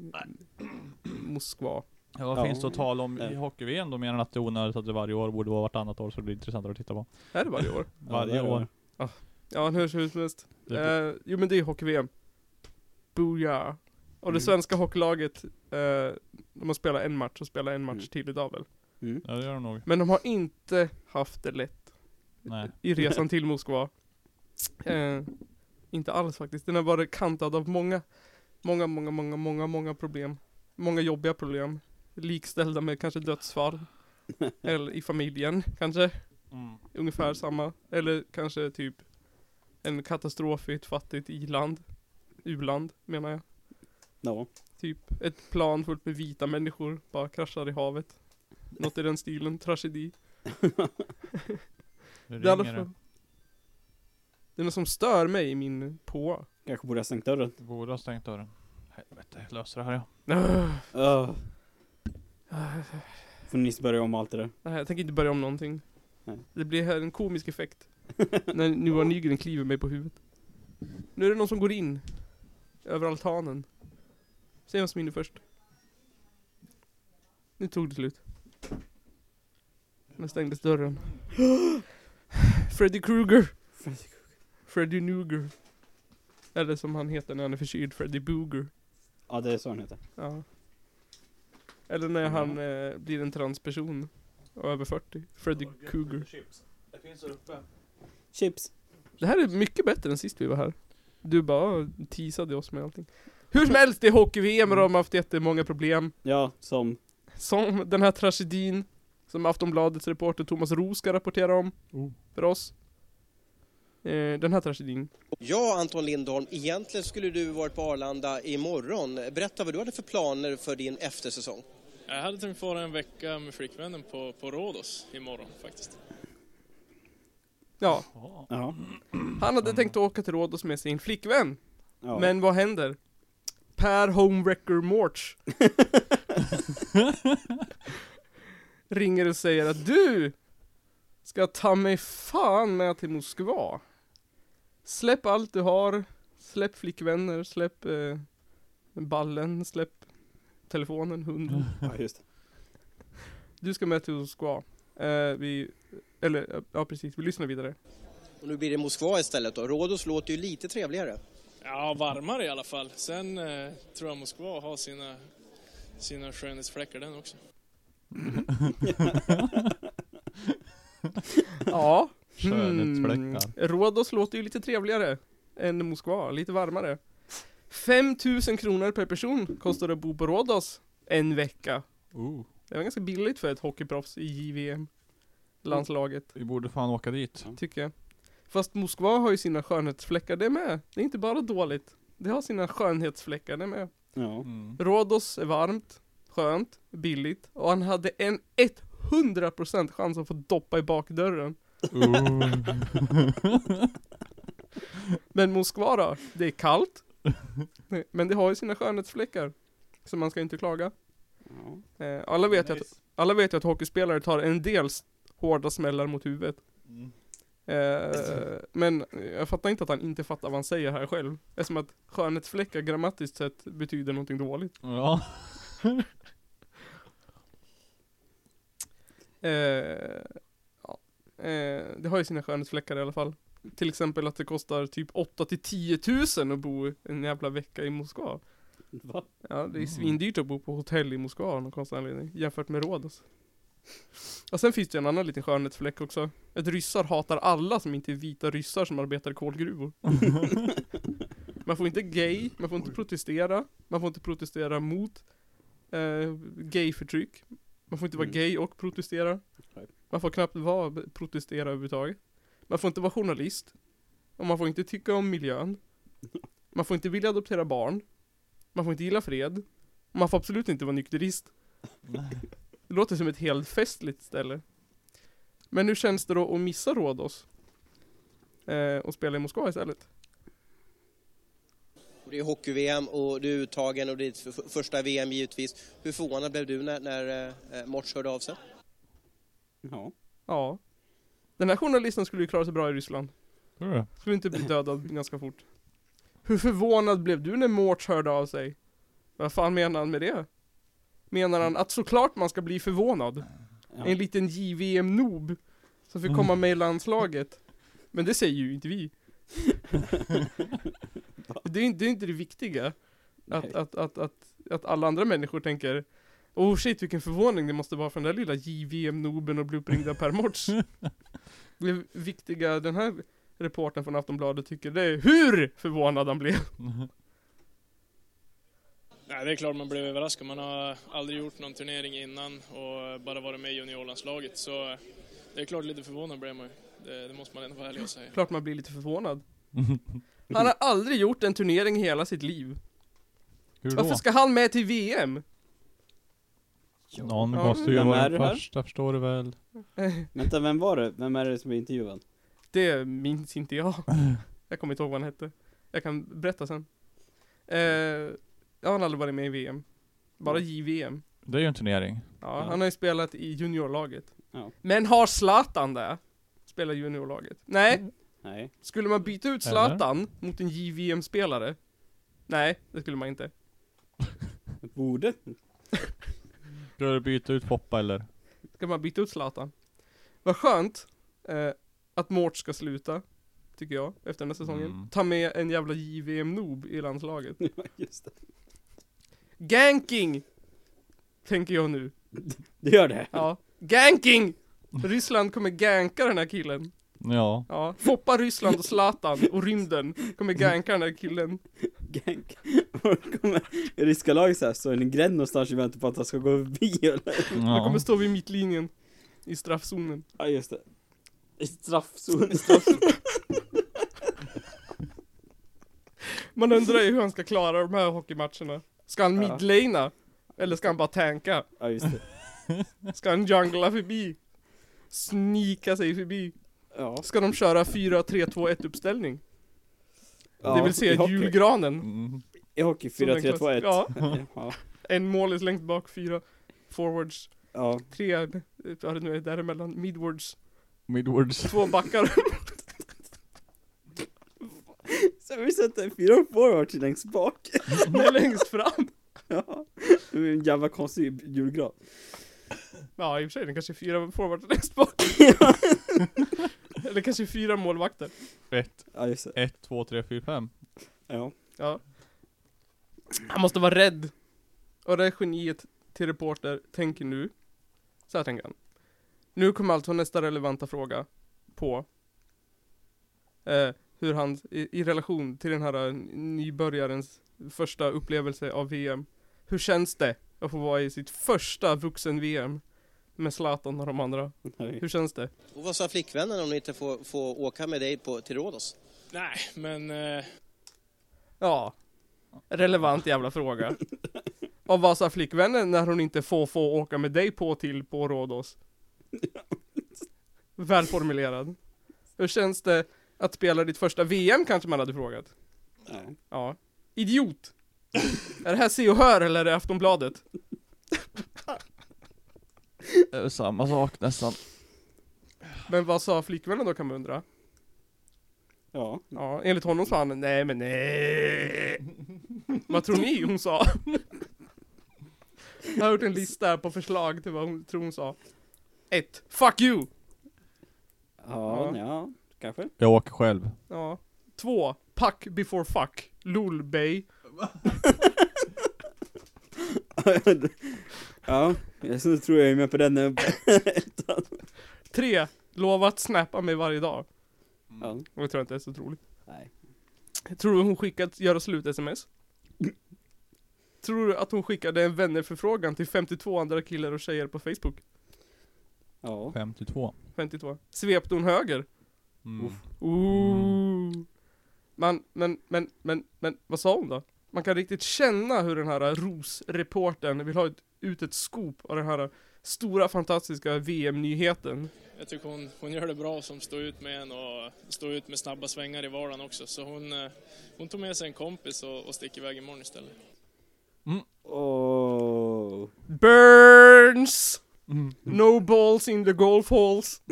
Moskva. Ja, vad Ja. finns det att tala om i Ja. hockey-VM? De menar att det är onödigt att det varje år borde vara vartannat år så det blir intressantare att titta på. Är det varje år? Ja, Varje där var år. Typ. det. Eh. Ja, hur hur som helst. Det blir- Eh, jo men det är hockey-VM. Booyah. Och det Mm. svenska hockeylaget, eh, de har spelat en match och spelar en match Mm. till idag väl. Mm. Ja det gör de nog. Men de har inte haft det lätt Nej. i resan till Moskva. Eh, inte alls faktiskt. Den har varit kantad av många, många, många, många, många, många problem. Många jobbiga problem. Likställda med kanske dödsfall. Eller i familjen kanske. Mm. Ungefär samma. Eller kanske typ en katastrof i ett fattigt i-land. U-land menar jag. Ja. Typ ett plan fullt med vita människor bara kraschar i havet. Något i den stilen, tragedi. Nu Det är, alla ringer det. fall- det är något som stör mig i min på. Kanske borde ha stängt dörren. Du borde ha stängt dörren. Helvete, jag löser det här ja. Uh, får ni börja om allt det där. Nej, jag tänker inte börja om någonting. Nej. Det blir här en komisk effekt. När Johan Nygren kliver mig på huvudet. Nu är det någon som går in. Över altanen. Se vem som är inne först. Nu tog det slut. Nu stängdes dörren. Freddy Krueger. Freddy Nuger. Eller som han heter när han är förkyld, Freddy Booger. Ja, det är så han heter. Ja. Eller när Ja. han eh, blir en transperson. Och över 40. Freddy Cougar. Det finns där uppe. Chips. Det här är mycket bättre än sist vi var här. Du bara "Ah, teasade oss med allting. Hur som helst, det är hockey-VM och de har haft jättemånga problem. Ja, som. Som den här tragedin som Aftonbladets reporter Thomas Roos ska rapportera om. För oss. Eh, den här tragedin. Ja, Anton Lindholm, egentligen skulle du varit på Arlanda imorgon. Berätta vad du hade för planer för din eftersäsong. Jag hade tänkt vara en vecka med flickvännen på, på Rhodos imorgon faktiskt. Ja, Ja. han hade tänkt åka till Rhodos med sin flickvän. ja. Men vad händer? Per Homewrecker Morch ringer och säger att du ska ta mig fan med till Moskva. Släpp allt du har, släpp flickvänner, släpp eh, ballen, släpp telefonen, hunden. ja, just det. Du ska med till Moskva. Eh, vi, eller eh, ja precis, vi lyssnar vidare. Och nu blir det Moskva istället då. Rhodos låter ju lite trevligare. Ja, varmare i alla fall. Sen eh, tror jag Moskva har sina, sina skönhetsfläckar den också. Ja. Skönhetsfläckar. Mm. Rhodos låter ju lite trevligare än Moskva, lite varmare. 5000 kronor per person kostar det att bo på Rhodos en vecka. Oh. Det var ganska billigt för ett hockeyproffs i JVM. Landslaget, Vi borde fan åka dit. tycker jag. Fast Moskva har ju sina skönhetsfläckar det med. Det är inte bara dåligt. Det har sina skönhetsfläckar det med. Ja. Mm. Rhodos är varmt, skönt, billigt och han hade en 100% chans att få doppa i bakdörren. Men Moskva då? Det är kallt. Men det har ju sina skönhetsfläckar. Så man ska inte klaga. ja. Eh, alla, vet ju att, alla vet ju att hockeyspelare tar en del s- hårda smällar mot huvudet. Mm. Eh, men jag fattar inte att han inte fattar vad han säger här själv. Eftersom att skönhetsfläckar grammatiskt sett betyder någonting dåligt. Ja. Eh, ja. eh, det har ju sina skönhetsfläckar i alla fall. Till exempel att det kostar typ 8 till 10 000 att bo en jävla vecka i Moskva. Va? Ja, det är Mm. svindyrt att bo på hotell i Moskva av någon konstig anledning, jämfört med Rhodos. Och sen finns det en annan liten skönhetsfläck också. Att ryssar hatar alla som inte är vita ryssar som arbetar i kolgruvor. man får inte gay, man får inte protestera, man får inte protestera mot eh, gayförtryck. Man får inte vara Mm. gay och protestera. Nej. Man får knappt vara, protestera överhuvudtaget. Man får inte vara journalist. Och man får inte tycka om miljön. Man får inte vilja adoptera barn. Man får inte gilla fred. Och man får absolut inte vara nykterist. Det låter som ett helt festligt ställe. Men hur känns det då att missa Rhodos? Eh, och spela i Moskva istället? Och det är hockey-VM och du är uttagen och det är ditt f- första VM givetvis. Hur förvånad blev du när, när eh, Morts hörde av sig? Ja. Ja. Den här journalisten skulle ju klara sig bra i Ryssland. Tror du det? Skulle inte bli dödad ganska fort. Hur förvånad blev du när Mårts hörde av sig? Vad fan menar han med det? Menar han att såklart man ska bli förvånad? Ja. En liten JVM-noob som fick komma med i landslaget. Men det säger ju inte vi. det, är, inte- det är inte det viktiga. Att, Nej. att, att, att, att alla andra människor tänker Oh shit vilken förvåning det måste vara för den där lilla JVM-noben och bli uppringd av Per Mårts. Det viktiga den här reportern från Aftonbladet tycker det är hur förvånad han blev. Nej, det är klart man blev överraskad. Man har aldrig gjort någon turnering innan och bara varit med i juniorlandslaget. Så eh, det är klart lite förvånad blev man ju. Det, det måste man ändå vara ärlig och säga. Klart man blir lite förvånad. Han har aldrig gjort en turnering i hela sitt liv. Hur då? Varför ska han med till VM? Någon Ja. måste ju Vem vara är den det här? första förstår du väl? Vänta, vem var det? Vem är det som är intervjuad? Det minns inte jag. Jag kommer inte ihåg vad han hette. Jag kan berätta sen. Eh, ja, han har aldrig varit med i VM. Bara JVM. Det är ju en turnering. Ja, Ja. Han har ju spelat i juniorlaget. Ja. Men har Zlatan det? Spelar juniorlaget. Nej, Nej. skulle man byta ut Eller? Zlatan mot en JVM-spelare? Nej, det skulle man inte. Borde? Ska du byta ut Poppa eller? Ska man byta ut Zlatan? Vad skönt eh, att Mårt ska sluta, tycker jag, efter den här säsongen. Mm. Ta med en jävla JVM-noob i landslaget. Ja, Just det. Ganking! Tänker jag nu. Det gör det. Ja. Ganking! Ryssland kommer ganka den här killen. Ja. Ja. Foppa Ryssland och Zlatan och rymden kommer ganka den här killen. Gank. Och kommer ryska laget såhär, står en gränd någonstans och väntar på att han ska gå förbi eller? Han ja. kommer stå vid mittlinjen. I straffzonen. Ja, just det. I straffzon, i straffzon. Man undrar ju hur han ska klara de här hockeymatcherna. Ska han Ja. midlana? Eller ska han bara tanka? Ja, just det. Ska han jungla förbi? Snika sig förbi? Ja. Ska de köra 4-3-2-1 uppställning? ja. det vill I säga hockey. julgranen. Mm. I hockey, som den 4-3-2-1. klass- Ja, Ja. en målis längst bak, fyra forwards, Ja. tre, eh, vad det nu är däremellan, midwards, Midwards. två backar. Så vi sätter fyra forwards längst bak. Nej, längst fram. Ja. Det är en jävla konstig julgran. Ja, i och för sig, det kanske är fyra forwards längst bak. Eller kanske fyra målvakter. Ett, Ja, just det. ett, två, tre, fyra, fem. Ja. Ja. Han måste vara rädd. Och det är geniet till reporter tänker nu. Så här tänker han. Nu kommer alltså nästa relevanta fråga på eh, hur han i, i relation till den här eh, nybörjarens första upplevelse av VM. Hur känns det att få vara i sitt första vuxen-VM med Zlatan och de andra? Hur känns det? Och vad sa flickvännen om ni inte får, får åka med dig på, till Rhodos? Nej, men eh, Ja. Relevant jävla fråga. Och vad sa flickvännen när hon inte får få åka med dig på till på Rhodos? Välformulerad. Hur känns det att spela ditt första VM kanske man hade frågat? Ja. Ja. Idiot! Är det här Se och Hör eller är det Aftonbladet? Det är samma sak nästan. Men vad sa flickvännen då kan man undra? Ja. Ja, enligt honom sa han nej men nej. Vad tror ni hon sa? Jag har gjort en lista här på förslag till vad hon tror hon sa. 1. Fuck you! Ja, Ja. ja. Kanske. Jag åker själv. Ja. 2. Pack before fuck. Lolbay. ja, just nu tror jag är med på den. eh, 3. Lova att snappa mig varje dag. Ja. Och jag tror inte det är så troligt. Nej. Tror du hon skickat göra slut-sms? Tror du att hon skickade en vännerförfrågan till 52 andra killar och tjejer på Facebook? Ja. 52. 52. Svepte hon höger? Mm. Ooh. Man, men, men, men, men, vad sa hon då? Man kan riktigt känna hur den här Ros-reportern vill ha ett, ut ett scoop av den här stora fantastiska VM-nyheten. jag tycker hon, hon gör det bra som står ut med en och står ut med snabba svängar i vardagen också. Så hon, eh, hon tog med sig en kompis och, och sticker iväg imorgon istället. Åh. Burns! Mm. No balls in the golf holes.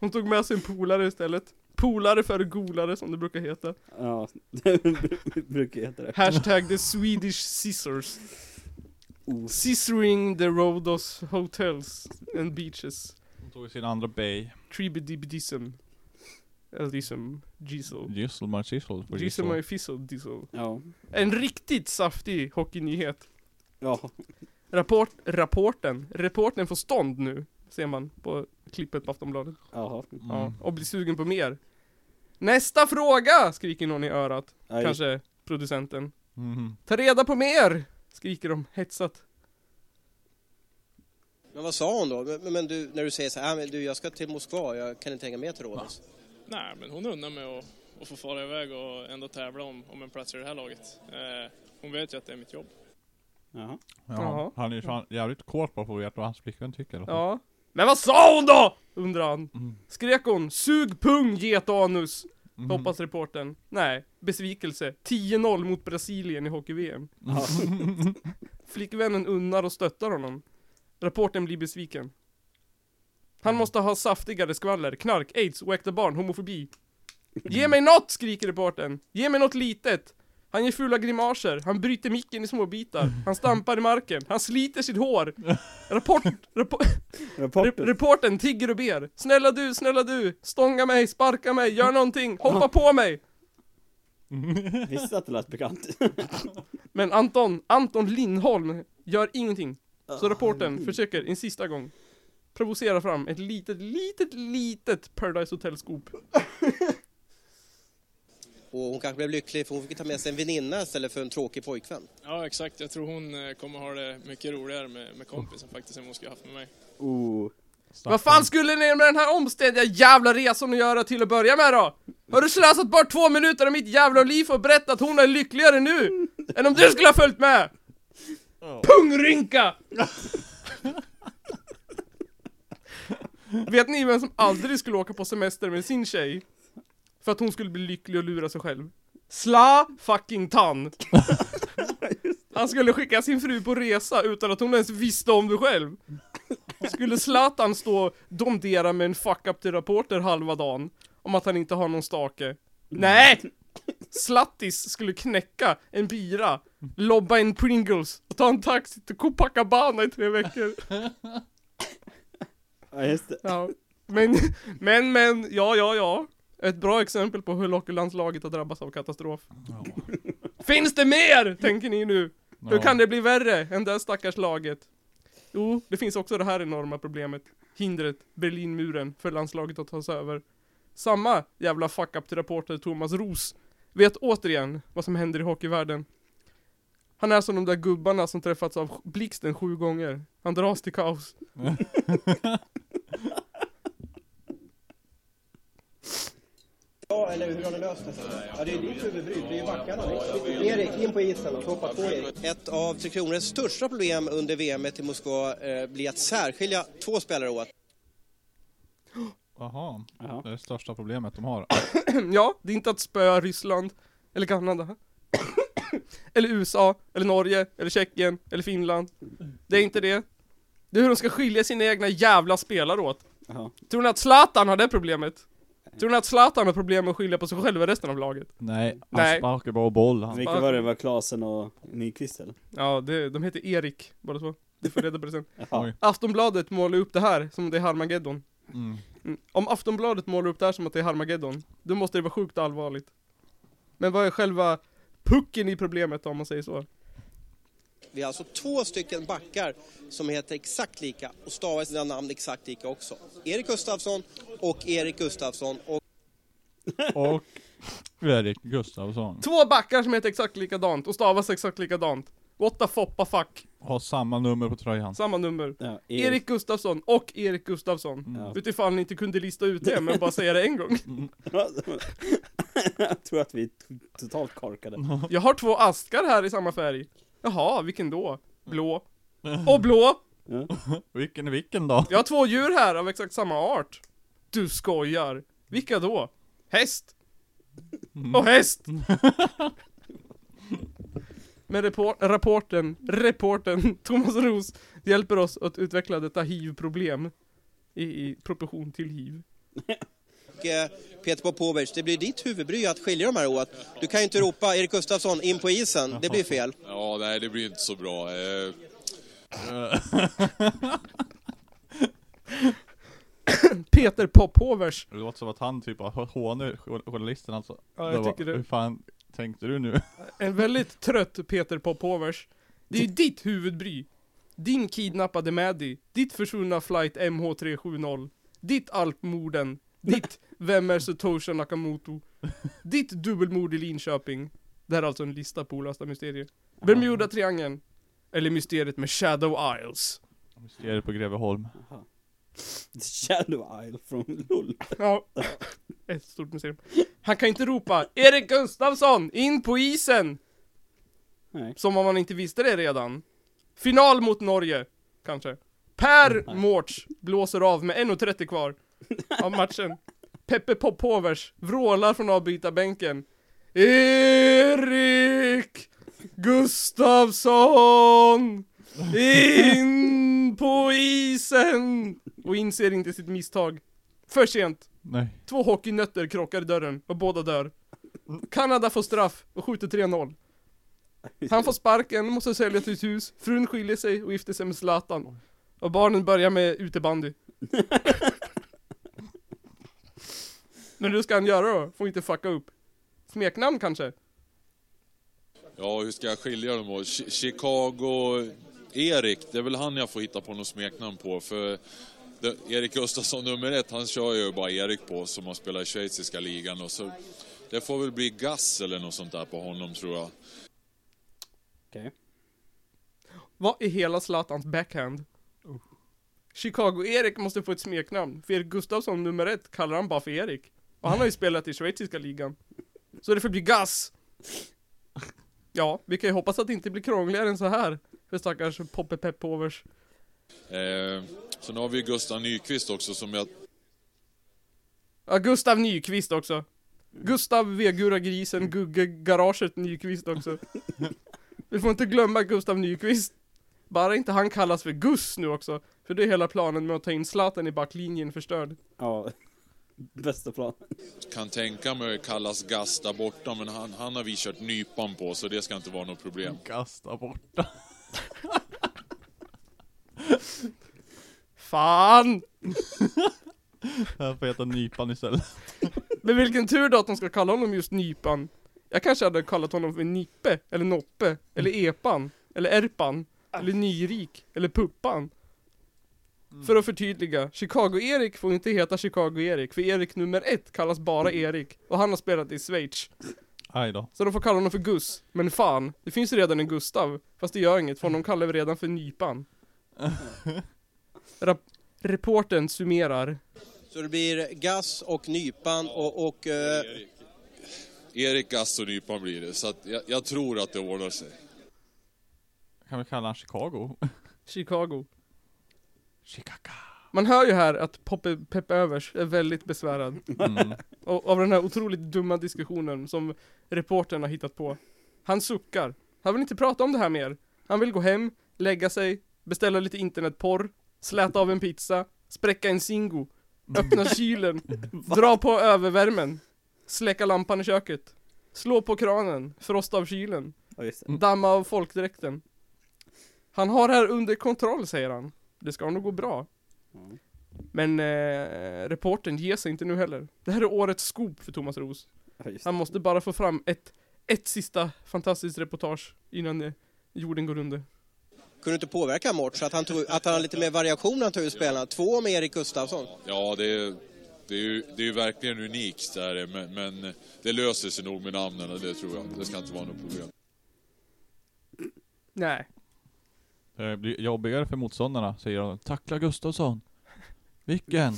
Hon tog med sig en polare istället. Polare före golare som det brukar heta. Ja, det brukar heta det. Hashtag the Swedish scissors. Oh. Scissoring the Rhodos hotels and beaches. Hon tog sin andra bay. Tribidibidism. Eller diesel. Diesel. Gissel, man gissel. på Diesel gissel. med fizzle diesel. Ja. En riktigt saftig hockeynyhet. Ja. Rapport, rapporten. Reporten får stånd nu. Ser man på klippet på Aftonbladet. Jaha. Ja, Mm. och blir sugen på mer. Nästa fråga! Skriker någon i örat. Ja, just- Kanske producenten. Mm. Ta reda på mer! Skriker de hetsat. Men vad sa hon då? Men, men du, när du säger så här, "Ah, men du jag ska till Moskva, jag kan inte hänga med till Rhodos. Nej, men hon undrar mig att, att få fara iväg och ändå tävla om, om en plats i det här laget. Eh, hon vet ju att det är mitt jobb. Jaha. Ja, Jaha. Han är ju fan jävligt kåt på att få veta vad hans flickvän tycker i alla fall. Ja. Men vad sa hon då? Undrar han. Mm. Skrek hon 'Sug pung, get anus' Mhm. Hoppas reporten. Nej, besvikelse. 10-0 mot Brasilien i hockey-VM. Ja. Flickvännen unnar och stöttar honom. Rapporten blir besviken. Han måste ha saftigare skvaller, knark, aids, oäkta barn, homofobi. Ge mig något! skriker reporten. Ge mig något litet! Han gör fula grimaser, han bryter micken i små bitar, han stampar i marken, han sliter sitt hår. Rapport, rapport, Re- Rapporten. reporten tigger och ber. Snälla du, snälla du! Stånga mig, sparka mig, gör någonting, hoppa på mig! Visste att det lät bekant. Men Anton, Anton Lindholm gör ingenting. Så reporten försöker en sista gång provocera fram ett litet, litet, litet Paradise Hotel-scoop. Och hon kanske blev lycklig för hon fick ta med sig en väninna istället för en tråkig pojkvän. Ja, exakt. Jag tror hon eh, kommer ha det mycket roligare med, med kompisen faktiskt än vad hon skulle haft med mig. Oh. Snacka Vad fan skulle ni med den här omständiga jävla resan att göra till att börja med då? Har du slösat bort två minuter av mitt jävla liv och berättat att hon är lyckligare nu än om du skulle ha följt med? Pungrynka! Vet ni vem som aldrig skulle åka på semester med sin tjej? För att hon skulle bli lycklig och lura sig själv. Sla fucking tan! Han skulle skicka sin fru på resa utan att hon ens visste om det själv. Skulle Zlatan stå och domdera med en fuck-up till rapporter halva dagen om att han inte har någon stake? Nej! Slattis skulle knäcka en bira, lobba en Pringles och ta en taxi till Copacabana i tre veckor. Ja, just det. Ja. Men, men, men, ja, ja, ja. Ett bra exempel på hur hockeylandslaget har drabbats av katastrof. Ja. Finns det mer? Tänker ni nu. Ja. Hur kan det bli värre än det här stackars laget? Jo, det finns också det här enorma problemet. Hindret, Berlinmuren, för landslaget att ta sig över. Samma jävla fuck-up till rapporter Thomas Ros vet återigen vad som händer i hockeyvärlden. Han är som de där gubbarna som träffats av blixten sju gånger. Han dras till kaos. Ja, eller hur har ni löst det? Ja, det är ditt huvudbry, det är ju backarna. Erik, in på isen och hoppa på Erik. Ett av Tre Kronors största problem under VM i Moskva eh, blir att särskilja två spelare åt. Jaha. Jaha. Det är det största problemet de har. ja, det är inte att spöa Ryssland, eller Kanada, eller USA, eller Norge, eller Tjeckien, eller Finland. Det är inte det. Det är hur de ska skilja sina egna jävla spelare åt. Jaha. Tror ni att Zlatan har det problemet? Tror ni att Zlatan har problem med att skilja på sig själv och resten av laget? Nej, Nej. han sparkar bara boll han. Vilka var det? Var Klasen och Nyqvist eller? Ja, det, de heter Erik, båda två. Du får reda på det sen. Jaha. Oj. Aftonbladet målar upp det här som det är Harmageddon. Mm. Mm. Om Aftonbladet målar upp det här som att det är Harmageddon, då måste det vara sjukt allvarligt. Men vad är själva pucken i problemet om man säger så? Vi har alltså två stycken backar som heter exakt lika och stavar sina namn exakt lika också. Erik Gustafsson och Erik Gustafsson och Och Erik Gustafsson Två backar som heter exakt likadant och stavas exakt likadant. What the foppa fuck. har samma nummer på tröjan. Samma nummer. Ja, Erik, Erik. Gustafsson och Erik Gustafsson. Ja. Utifall ni inte kunde lista ut det, men bara säga det en gång. Jag tror att vi är t- totalt korkade. Jag har två askar här i samma färg. Jaha, vilken då? Blå. Och blå! Ja. Vilken är vilken då? Jag har två djur här av exakt samma art. Du skojar. Vilka då? Häst. Och häst! Men report, rapporten, reporten Thomas Ros hjälper oss att utveckla detta hiv-problem i, i proportion till hiv. eh, Peter Popovic. Det blir ditt huvudbry att skilja de här åt. Du kan ju inte ropa Erik Gustafsson in på isen, det blir fel. Ja, nej, det blir inte så bra. Eh, Peter Pophovers. Det låter som att han typ har hånar journalisten alltså. Ja, jag Det var- tycker det. Hur fan tänkte du nu? En väldigt trött Peter Pophovers. Det är ju ditt huvudbry. Din kidnappade Maddy. Ditt försvunna flight MH370. Ditt alpmorden. Ditt Vem är Satoshi Nakamoto? Ditt dubbelmord i Linköping. Det här är alltså en lista på olösta mysterier. Bermuda-triangeln. Eller mysteriet med Shadow Isles. Mysteriet på Greveholm. Shadow Isle från LOL. Ja. Ett stort mysterium. Han kan inte ropa Erik Gustafsson, in på isen! Nej. Som om han inte visste det redan. Final mot Norge, kanske. Per Mårts blåser av med 1.30 kvar av matchen. Peppe Popovers vrålar från avbytarbänken. Erik Gustafsson! In på isen! Och inser inte sitt misstag. För sent. Nej. Två hockeynötter krockar i dörren och båda dör. Kanada får straff och skjuter 3-0. Han får sparken, måste sälja sitt hus, frun skiljer sig och gifter sig med Zlatan. Och barnen börjar med utebandy. Men hur ska han göra då? Får inte fucka upp. Smeknamn kanske? Ja, hur ska jag skilja dem åt? Chi- Chicago... Erik, det är väl han jag får hitta på något smeknamn på. För det, Erik Gustafsson nummer ett, han kör ju bara Erik på som har spelat i schweiziska ligan. Och så, det får väl bli Gass eller något sånt där på honom tror jag. Okej. Vad är hela Zlatans backhand? Chicago-Erik måste få ett smeknamn, för Erik Gustafsson nummer ett kallar han bara för Erik. Och han har ju spelat i schweiziska ligan. Så det får bli Gass! Ja, vi kan ju hoppas att det inte blir krångligare än så här. För stackars Poppe Peppovers. Eh, sen har vi ju Gustav Nyqvist också som jag... Ja, Gustav Nyqvist också. Gustav Vegura Grisen, Gugge Garaget Nyqvist också. Vi får inte glömma Gustav Nyqvist. Bara inte han kallas för Gus nu också. För det är hela planen med att ta in Zlatan i backlinjen förstörd. Ja. Bästa plan. kan tänka mig kallas Gass där borta, men han, han har vi kört nypan på så det ska inte vara något problem. Kasta borta. Fan! Han får heta Nypan istället. Men vilken tur då att de ska kalla honom just Nypan. Jag kanske hade kallat honom för Nippe, eller Noppe, eller Epan, eller Erpan, eller Nyrik, eller Puppan. För att förtydliga, Chicago-Erik får inte heta Chicago-Erik, för Erik nummer ett kallas bara Erik, och han har spelat i Schweiz. Aj då. Så de får kalla honom för Gus, men fan, det finns ju redan en Gustav, fast det gör inget, för honom kallar vi redan för Nypan. Rap- reporten summerar. Så det blir Gass och Nypan och, och eh, Erik, Gass och nypan blir det, så att jag, jag tror att det ordnar sig. Kan vi kalla han Chicago? Chicago. Chicago. Man hör ju här att Poppe, Peppe Övers är väldigt besvärad Mm. av, av den här otroligt dumma diskussionen som reportern har hittat på. Han suckar. Han vill inte prata om det här mer. Han vill gå hem, lägga sig, beställa lite internetporr, släta av en pizza, spräcka en Zingo, öppna kylen, dra på övervärmen, släcka lampan i köket, slå på kranen, frosta av kylen, Ja, just det. Mm. damma av folkdräkten. Han har det här under kontroll, säger han. Det ska nog gå bra. Mm. Men eh, reporten ger sig inte nu heller. Det här är årets scoop för Thomas Ros. Ja, just det. Han måste bara få fram ett, ett sista fantastiskt reportage innan eh, jorden går under. kunde inte påverka Mort så att han, tog, att han hade lite mer variation när han tog ut spelarna. Två med Erik Gustafsson. Ja, det är, det är, ju, det är ju verkligen unikt det här, är, men, men det löser sig nog med namnen och det tror jag. Det ska inte vara något problem. Nej. Det blir jobbigare för motståndarna, säger de. Tackla Gustafsson. Vilken?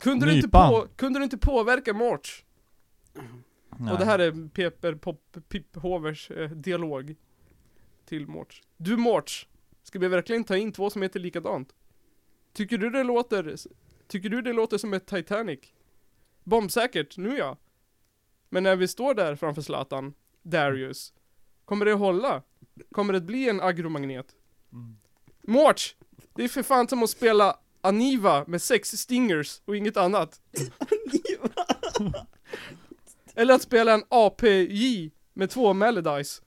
Kunde du, inte Nypan. på, kunde du inte påverka March? Och det här är Peper Pop, Pip Hovers eh, dialog till March. Du March, ska vi verkligen ta in två som heter likadant? Tycker du det låter, tycker du det låter som ett Titanic? Bombsäkert, nu ja. Men när vi står där framför Zlatan, Darius, kommer det att hålla? Kommer det att bli en agromagnet? Mm. Mårts! Det är för fan som att spela Aniva med sex stingers och inget annat. Eller att spela en APJ med två Melodies.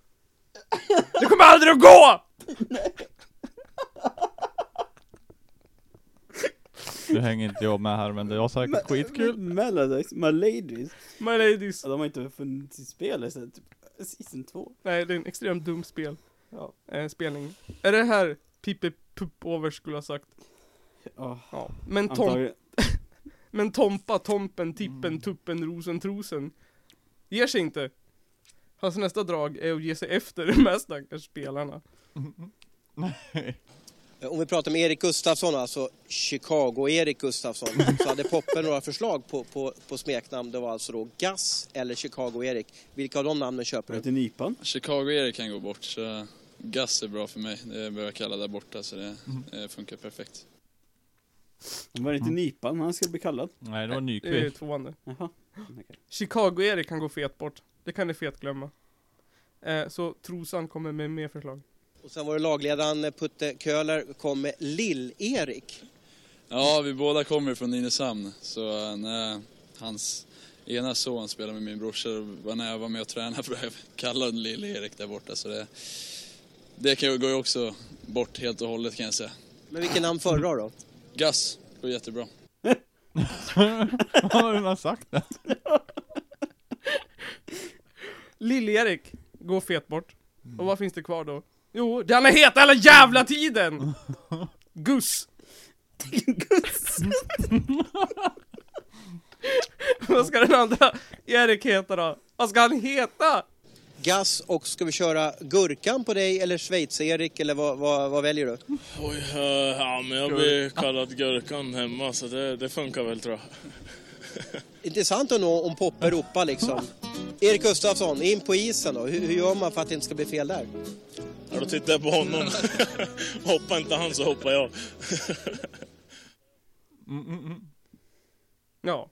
Det kommer aldrig att gå! Nu hänger inte jag med här men det var säkert skitkul. Melodies, My Ladies. My ladies. Ja, de har inte funnits i spelet sen typ season 2. Nej, det är en extremt dum spel. Ja. Eh, spelning. Är det här Pippi Pupover skulle ha sagt? Oh, Ja. Men, tom, antagligen. Mm. men Tompa, Tompen, Tippen, Tuppen, Rosen, Trosen. Ger sig inte. Hans nästa drag är att ge sig efter de här stackars spelarna. Om vi pratar med Erik Gustafsson, alltså Chicago-Erik Gustafsson, så hade Poppe några förslag på, på, på smeknamn. Det var alltså då Gass eller Chicago-Erik. Vilka av de namnen köper Vad du? heter Nypan? Chicago-Erik kan gå bort, så Gass är bra för mig. Det börjar kalla där borta så det eh, funkar perfekt. Han var Mm. inte Nipan han skulle bli kallad. Nej, det var Det är ju Nyqvist. tvåan nu. Jaha. Chicago-Erik kan gå fet bort. Det kan ni fet glömma. Eh, så Trosan kommer med mer förslag. Och sen var det lagledaren Putte Köhler kom med Lill-Erik. Ja, vi båda kommer från Nynäshamn. Så eh, när hans ena son spelar med min brorsa, då var när jag var med och tränade blev jag kallad Lill-Erik där borta. Så det, det kan ju- går ju också bort helt och hållet kan jag säga. Men vilket namn förra då? Gass går jättebra. Vad har han sagt det? Lill-Erik går fet bort. Och vad finns det kvar då? Jo, den är het hela jävla tiden! Guss! Guss! vad ska den andra Erik heta då? Vad ska han heta? Gas och ska vi köra Gurkan på dig eller Schweiz-Erik eller vad, vad, vad väljer du? Oj, eh, ja, men jag blir kallad Gurkan hemma så det, det funkar väl tror jag. Intressant att nå om Poppe ropar liksom. Erik Gustafsson, in på isen då. Hur, hur gör man för att det inte ska bli fel där? Ja, då tittar jag på honom. hoppar inte han så hoppar jag. Mm, Ja,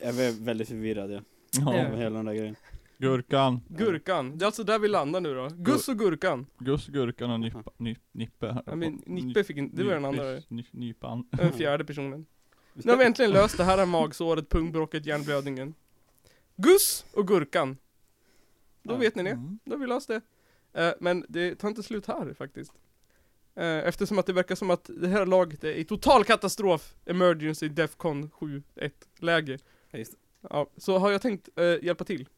Jag var väldigt förvirrad ja. Ja. Över hela den där grejen. Gurkan. Gurkan. Det är alltså där vi landar nu då. Guss och Gurkan. Gus, Gurkan och Nypa, ny, Nippe. Ja, men Nippe fick inte, det var den andra. Ny, nypan. Den fjärde personen. Nu har vi äntligen löst det här magsåret, pungbråcket, hjärnblödningen. Guss och Gurkan. Då vet ni det. Mm. Då har vi löst det. Eh, Men det tar inte slut här faktiskt. Eh, Eftersom att det verkar som att det här laget är i total katastrof, emergency Defcon 7-1 läge. Ja, just det. Ja, så har jag tänkt eh, hjälpa till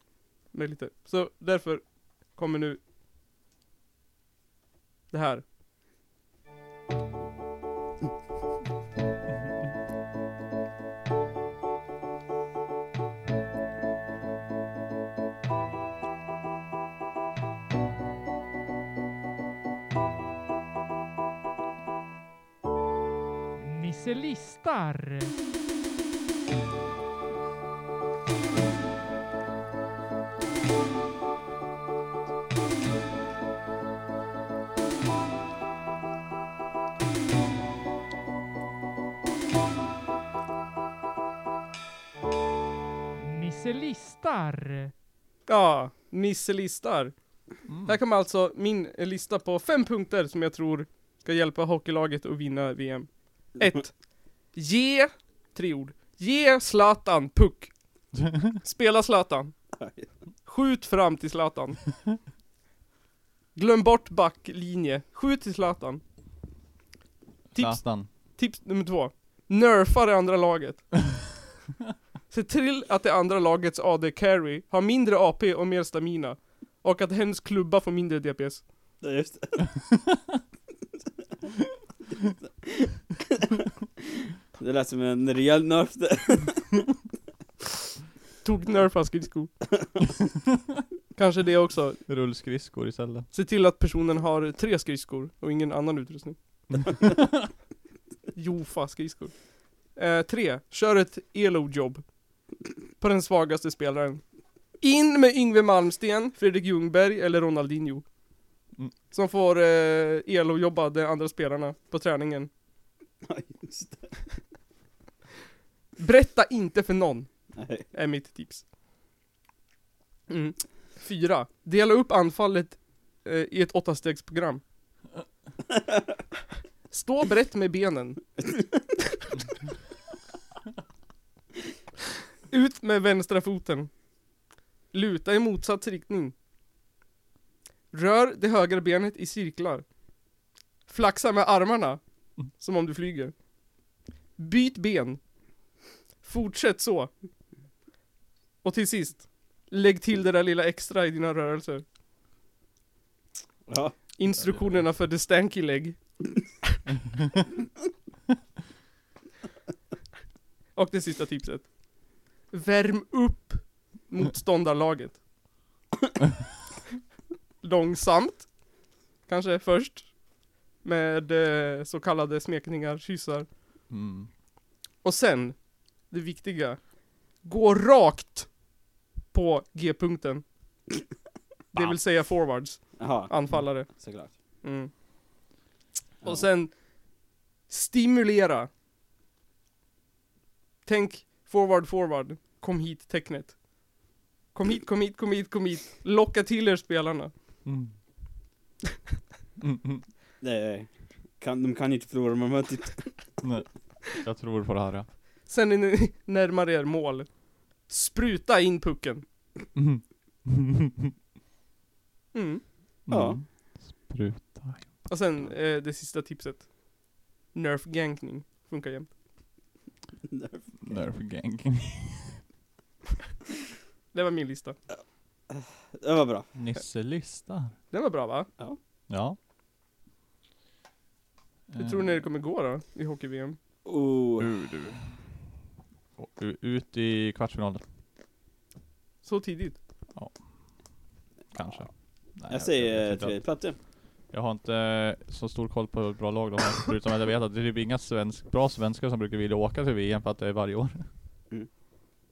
med lite. Så därför kommer nu det här. Nisse listar. Nisse listar. Ja, Nisse listar. Här kommer alltså min lista på fem punkter som jag tror ska hjälpa hockeylaget att vinna VM. 1. Ge, tre ord. Ge Zlatan puck. Spela Zlatan. Skjut fram till Zlatan. Glöm bort backlinje. Skjut till Zlatan. Tips, Zlatan. tips nummer två. Nerfa det andra laget. Se till att det andra lagets AD carry har mindre AP och mer stamina. Och att hens klubba får mindre DPS. Ja, Just det. Det lät som en rejäl nerf där. Tog nerfa skridsko. Kanske det också. Rullskridskor istället. Se till att personen har tre skridskor och ingen annan utrustning. Jofa skridskor. Eh, tre. Kör ett elo-jobb. På den svagaste spelaren. In med Yngve Malmsten, Fredrik Ljungberg eller Ronaldinho. Mm. Som får eh, elo-jobba de andra spelarna på träningen. Ja, just det. Berätta inte för någon. Nej. är mitt tips. Mm. Fyra. Dela upp anfallet eh, i ett åttastegsprogram. Stå brett med benen. Ut med vänstra foten. Luta i motsatt riktning. Rör det högra benet i cirklar. Flaxa med armarna, som om du flyger. Byt ben. Fortsätt så. Och till sist, lägg till det där lilla extra i dina rörelser. Ja. Instruktionerna för the stanky leg. Och det sista tipset. Värm upp motståndarlaget. Långsamt. Kanske först. Med eh, så kallade smekningar, kyssar. Mm. Och sen, det viktiga. Gå rakt på G-punkten. Det vill säga forwards. Jaha, anfallare. såklart. Mm. Ja. Och sen stimulera. Tänk forward, forward. Kom hit tecknet. Kom hit, kom hit, kom hit, kom hit. Locka till er spelarna. Mm. Mm, mm. Det är, kan, de typ- kan ju inte förlora, man möter ju ett Nej. Jag tror på det här ja. Sen är ni närmare er mål. Spruta in pucken. Mm. Mm. Ja. Mm. Spruta. Och sen eh, det sista tipset. Nerf gankning. Funkar jämt. nerv. Nerf gang. Det var min lista. Det var bra. Nisse listar. Den var bra va? Ja. Hur Mm. tror ni det kommer gå då? I hockey-VM? Oh, Ur du. Och u- Ut i kvartsfinalen, Så tidigt? kanske. Nej, jag säger vet inte. tredje plats ja. Jag har inte eh, så stor koll på hur bra lag de har, förutom att jag vet att det är typ inga svensk, bra svenskar som brukar vilja åka till VM för att det är varje år.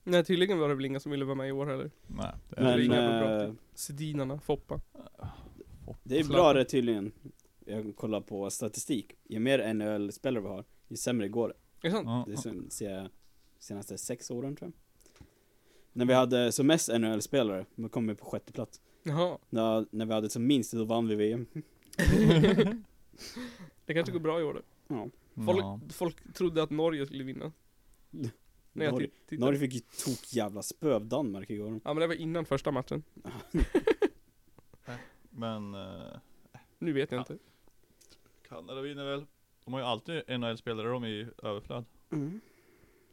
Nej tydligen var det väl inga som ville vara med i år heller. Nej, det är det Men gick jävla bra. eh, Sedinarna, Foppa. det är bra Zlatan. det tydligen. Jag kollar på statistik. Ju mer NHL-spelare vi har, ju sämre går det. Är det sant? Ja, Det är sen, se, senaste sex åren tror jag. När vi hade som mest NHL-spelare, då kom vi på sjätte plats. Jaha. När, när vi hade som minst, då vann vi VM. Det kanske går bra i år då. Folk, ja. folk trodde att Norge skulle vinna. När jag Norge, titt- tittade. Norge fick ju tok jävla spö av Danmark igår. Ja men det var innan första matchen. Men eh, Nu vet jag Ja. inte. Kanada vinner väl? De har ju alltid NHL-spelare de i överflöd. Mm.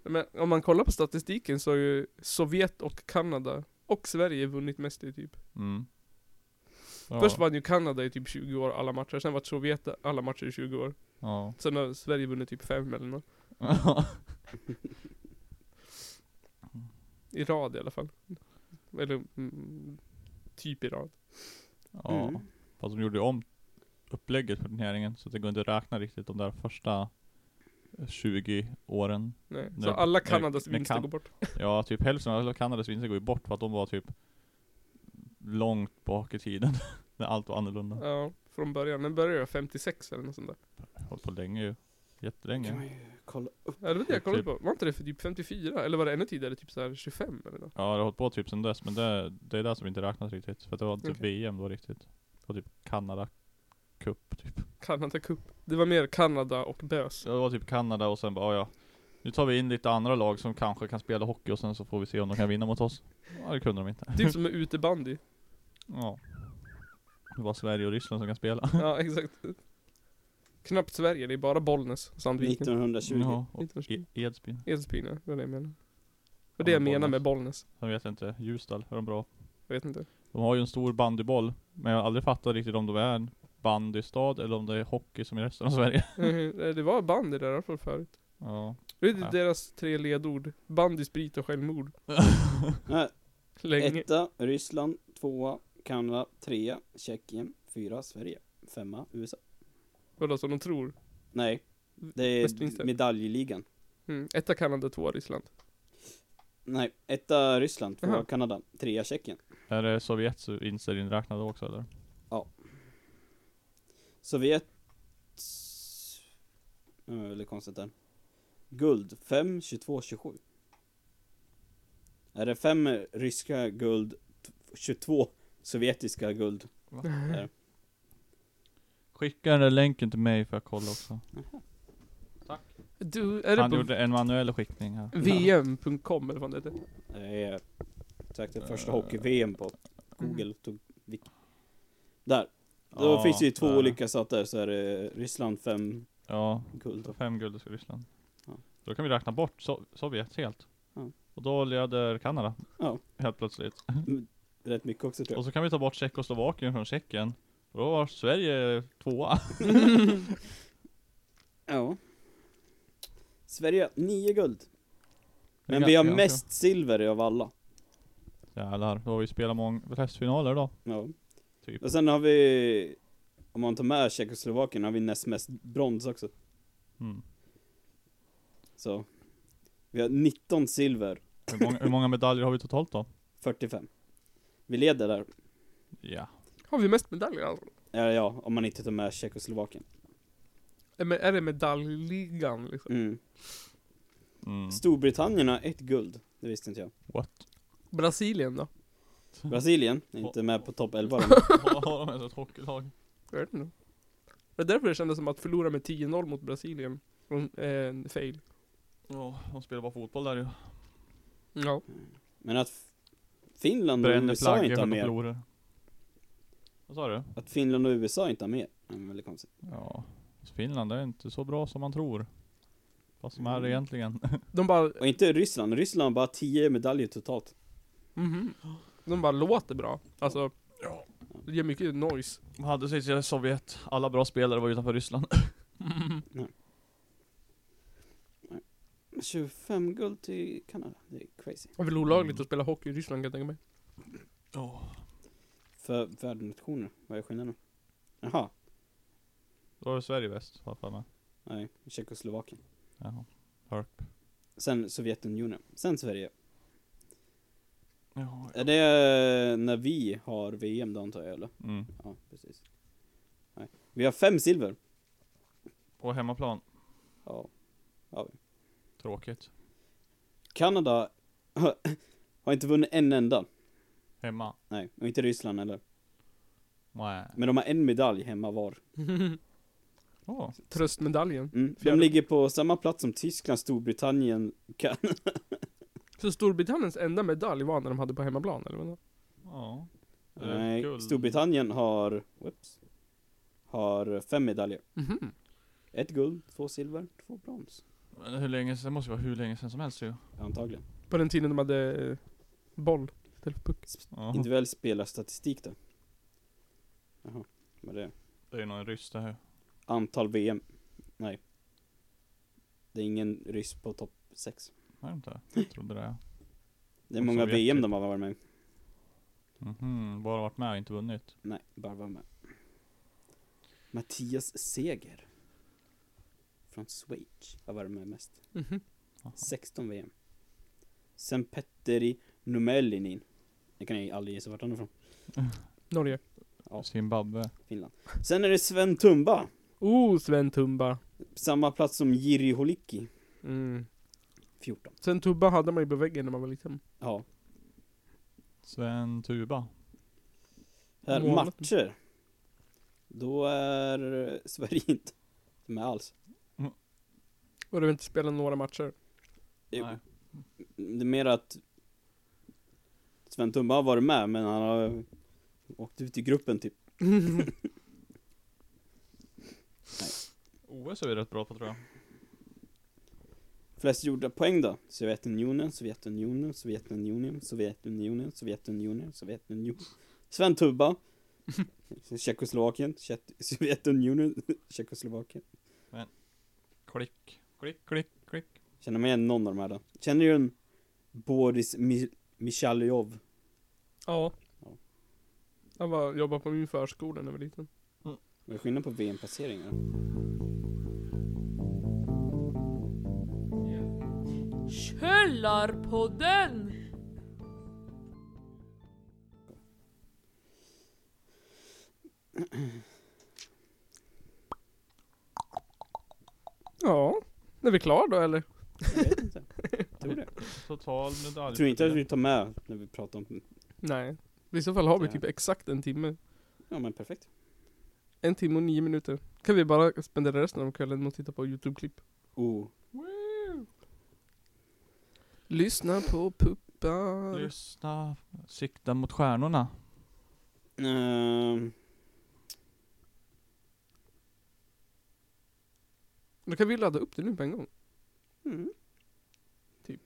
Men om man kollar på statistiken så har ju Sovjet och Kanada och Sverige vunnit mest i typ. Mm. Ja, Först vann ju Kanada i typ 20 år alla matcher, sen var Sovjet alla matcher i 20 år. Ja. Sen har Sverige vunnit typ fem eller något. I rad i alla fall. Eller mm, typ i rad. ja. Mm. Fast de gjorde ju om upplägget för turneringen så det går inte att räkna riktigt de där första 20 åren. Nej. Så Nej, alla nej, Kanadas nej, vinster kan- går bort. Ja, typ hälften av alla Kanadas vinster går ju bort för att de var typ långt bak i tiden. när allt var annorlunda. Ja, från början. Den började jag 56 eller något sånt där. Hållit på länge ju. Jättelänge. Kolla upp. Ja, det var det jag kollade Typ. på. Var inte det för typ 54? Eller var det ännu tidigare? Typ så här 25 eller något? Ja, det har hållit på typ sen dess. Men det, det är det som inte räknas riktigt. För att det var typ Okej. VM då riktigt. Och typ Kanada Cup typ. Kanada Cup. Det var mer Kanada och bös. Så det var typ Kanada och sen bara "Ja, ja. Nu tar vi in lite andra lag som kanske kan spela hockey och sen så får vi se om de kan vinna mot oss. Ja, det kunde de inte. Typ som med utebandy. Ja. Det var Sverige och Ryssland som kan spela. Ja, exakt. Knappt Sverige, det är bara Bollnäs och Typ Sandviken. 1920. Ja, och E- 1920. Edsbyn. Edsbyn, ja. det var det jag menade. Ja, Och det jag men menar Bollnäs. med Bollnäs. Sen vet jag inte. Ljusdal, är de bra? Jag vet inte. De har ju en stor bandyboll, men jag har aldrig fattat riktigt om de är en bandystad eller om det är hockey som i resten av Sverige. det var bandy där i alla fall förut. Ja. Det är Ja. deras tre ledord. Bandy, sprit och självmord. Nej, Länge. Etta, Ryssland. Tvåa, Kanada. Trea, Tjeckien. Fyra, Sverige. Femma, USA. Vadå som de tror? Nej, det Mest vinster. är medaljligan. Mm. Etta Kanada, tvåa Ryssland. Nej, etta Ryssland, tvåa Jaha. Kanada, trea Tjeckien. Är det Sovjets vinster inräknade också eller? Sovjet... Det var väldigt konstigt där. Guld, 5, 22, 27. Är det 5 ryska guld, t- 22 sovjetiska guld? Skicka den där länken till mig för att kolla också. Du, är det Han på gjorde en manuell skickning här. VM.com eller vad det heter? Det är säkert det Eh, första Eh. hockey-VM på Google. Tog, vik- där. Då Ja, finns det ju två där. olika stater, så är det Ryssland 5 Ja, guld. så fem guld för Ryssland. Ja. Då kan vi räkna bort so- Sovjet helt. Ja. Och då leder Kanada. Ja. Helt plötsligt. Rätt mycket också tror Och jag. så kan vi ta bort Tjeckoslovakien från Tjeckien. Och då var Sverige tvåa. Ja. Sverige, 9 guld. Det är Men vi har ganska- mest silver av alla. Jävlar, då har vi spelat många testfinaler då. Ja. Typ. Och sen har vi, om man tar med Tjeckoslovakien, har vi näst mest brons också. Mm. Så. Vi har 19 silver, Hur många, hur många medaljer har vi totalt då? 45. Vi leder där. Ja. Har vi mest medaljer alltså? Eller ja, om man inte tar med Tjeckoslovakien. Är med- Är det medaljligan liksom? Mm. Mm. Storbritannien har ett guld. Det visste inte jag. What? Brasilien då? Brasilien är inte med på topp 11 då. Har har de ens ett hockeylag? Jag vet inte. Det är därför det kändes som att förlora med 10-0 mot Brasilien var en fail. Ja, de spelar bara fotboll där ju. Ja. Men att F- Finland och Bränner USA flaggor inte för har att de mer. förlorar. Vad sa du? Att Finland och USA inte har mer. Det är väldigt konstigt. Ja, Finland är inte så bra som man tror. Fast de är det egentligen. De bara, Och inte Ryssland. Ryssland har bara 10 medaljer totalt. mhm. De bara låter bra. Alltså, det gör mycket noise. De hade sig till Sovjet. Alla bra spelare var utanför Ryssland. 25 guld till Kanada. Det är crazy. Det är väl olagligt att spela hockey i Ryssland kan jag tänka mig. Ja. För världsnationer. Vad är skillnaden? Jaha. Då var det Sverige bäst, har jag för mig. Nej, Tjeckoslovakien. Jaha. Herp. Sen Sovjetunionen. Sen Sverige. Ja, Är det eh, när vi har VM då antar jag eller? Mm. Ja, precis. Nej. Vi har fem silver. På hemmaplan. Ja. Tråkigt. Kanada har inte vunnit en enda. Hemma. Nej, och inte Ryssland heller. Nej. Men de har en medalj hemma var. Åh. Tröstmedaljen. Mm. De Fjärde. ligger på samma plats som Tyskland, Storbritannien, Kanada. Så Storbritanniens enda medalj var när de hade på hemmaplan eller vadå? Ja. Eller Nej, guld. Storbritannien har... Whoops, har fem medaljer. Mhm. Ett guld, två silver, två brons. Men hur länge sen? Det måste ju vara hur länge sen som helst ju. Antagligen. På den tiden de hade eh, boll. Eller puck. Ja. Individuell spelarstatistik då. Jaha, vad är det? Det är ju någon ryss det här. Antal VM. Nej. Det är ingen ryss på topp 6. Är det inte? Jag trodde det. Det är Och många Sovjet, VM typ. de har varit med i. Mhm, bara varit med och inte vunnit. Nej, bara varit med. Mattias Seger. Från Schweiz har varit med mest. Mhm. 16 VM. Sen Petteri Numelinin. Jag kan ju aldrig gissa vart han är från. Norge. Ja. Zimbabwe. Finland. Sen är det Sven Tumba. Oh, Sven Tumba. Samma plats som Jiri Holicki. Mm. 14. Sven Tumba hade man ju på väggen när man var liten. Ja. Sven Tuba. Här, Målet. matcher. Då är eh, Sverige inte med alls. Och det har inte spelat några matcher. Jo. Nej. Eh, Det är mer att Sven Tumba har varit med, men han har åkt ut i gruppen typ. OS är vi rätt bra på tror jag. Flest gjorda poäng då? Sovjetunionen, Sovjetunionen, Sovjetunionen, Sovjetunionen, Sovjetunionen, Sovjetunionen. Sven Tuba. Tjeckoslovakien, Tje- Sovjetunionen, Tjeckoslovakien. Klick, klick, klick, klick. Känner man igen någon av de här då? Känner du en Boris Mi- Michaljov? Ja. Ja. Han var, jobbade på min förskola när jag var liten. Vad är skillnaden på VM-placeringar? Källarpodden! Ja. Är vi klara då eller? Jag vet inte. Tror det. Total medalj. Tror inte att vi tar med när vi pratar om... Nej. I så fall har vi Ja. typ exakt en timme. Ja men perfekt. En timme och nio minuter. Kan vi bara spendera resten av kvällen med att titta på YouTube-klipp. Oh. Lyssna på puppar. Lyssna, sikta mot stjärnorna. Ehm, Då kan vi ladda upp det nu på en gång. mm, Typ.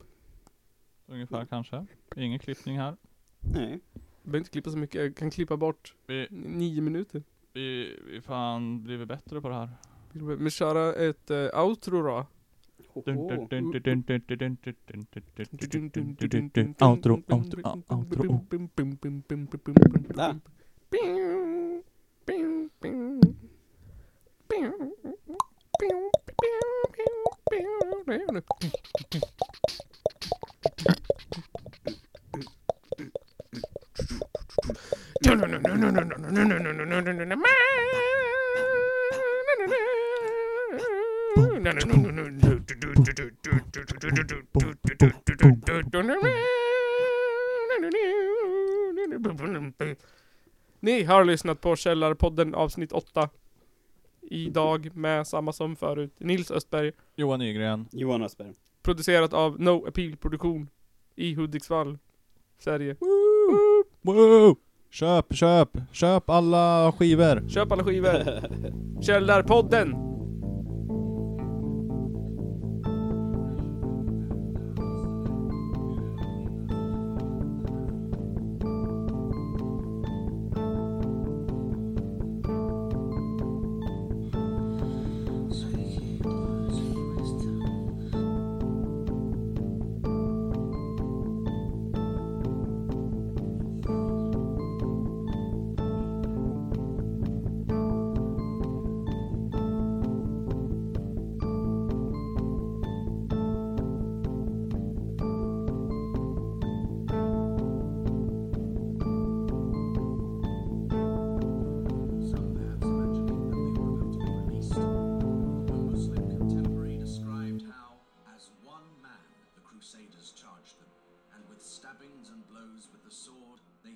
Ungefär kanske. Ingen klippning här. nej. Jag behöver inte klippa så mycket. Jag kan klippa bort Vi, nio minuter. vi, vi fan blivit bättre på det här. Men köra ett eh, outro då. Hoho. Outro, outro, a- outro. Där. Ni har lyssnat på Källarpodden avsnitt 8 Idag med samma som förut Nils Östberg Johan Nygren. Johan Östberg. Producerat av No Appeal Produktion I Hudiksvall Sverige Woo! Köp, köp, köp alla skivor! Köp alla skivor Källarpodden Muslim contemporary described how, as one man, the Crusaders charged them, and with stabbings and blows with the sword, they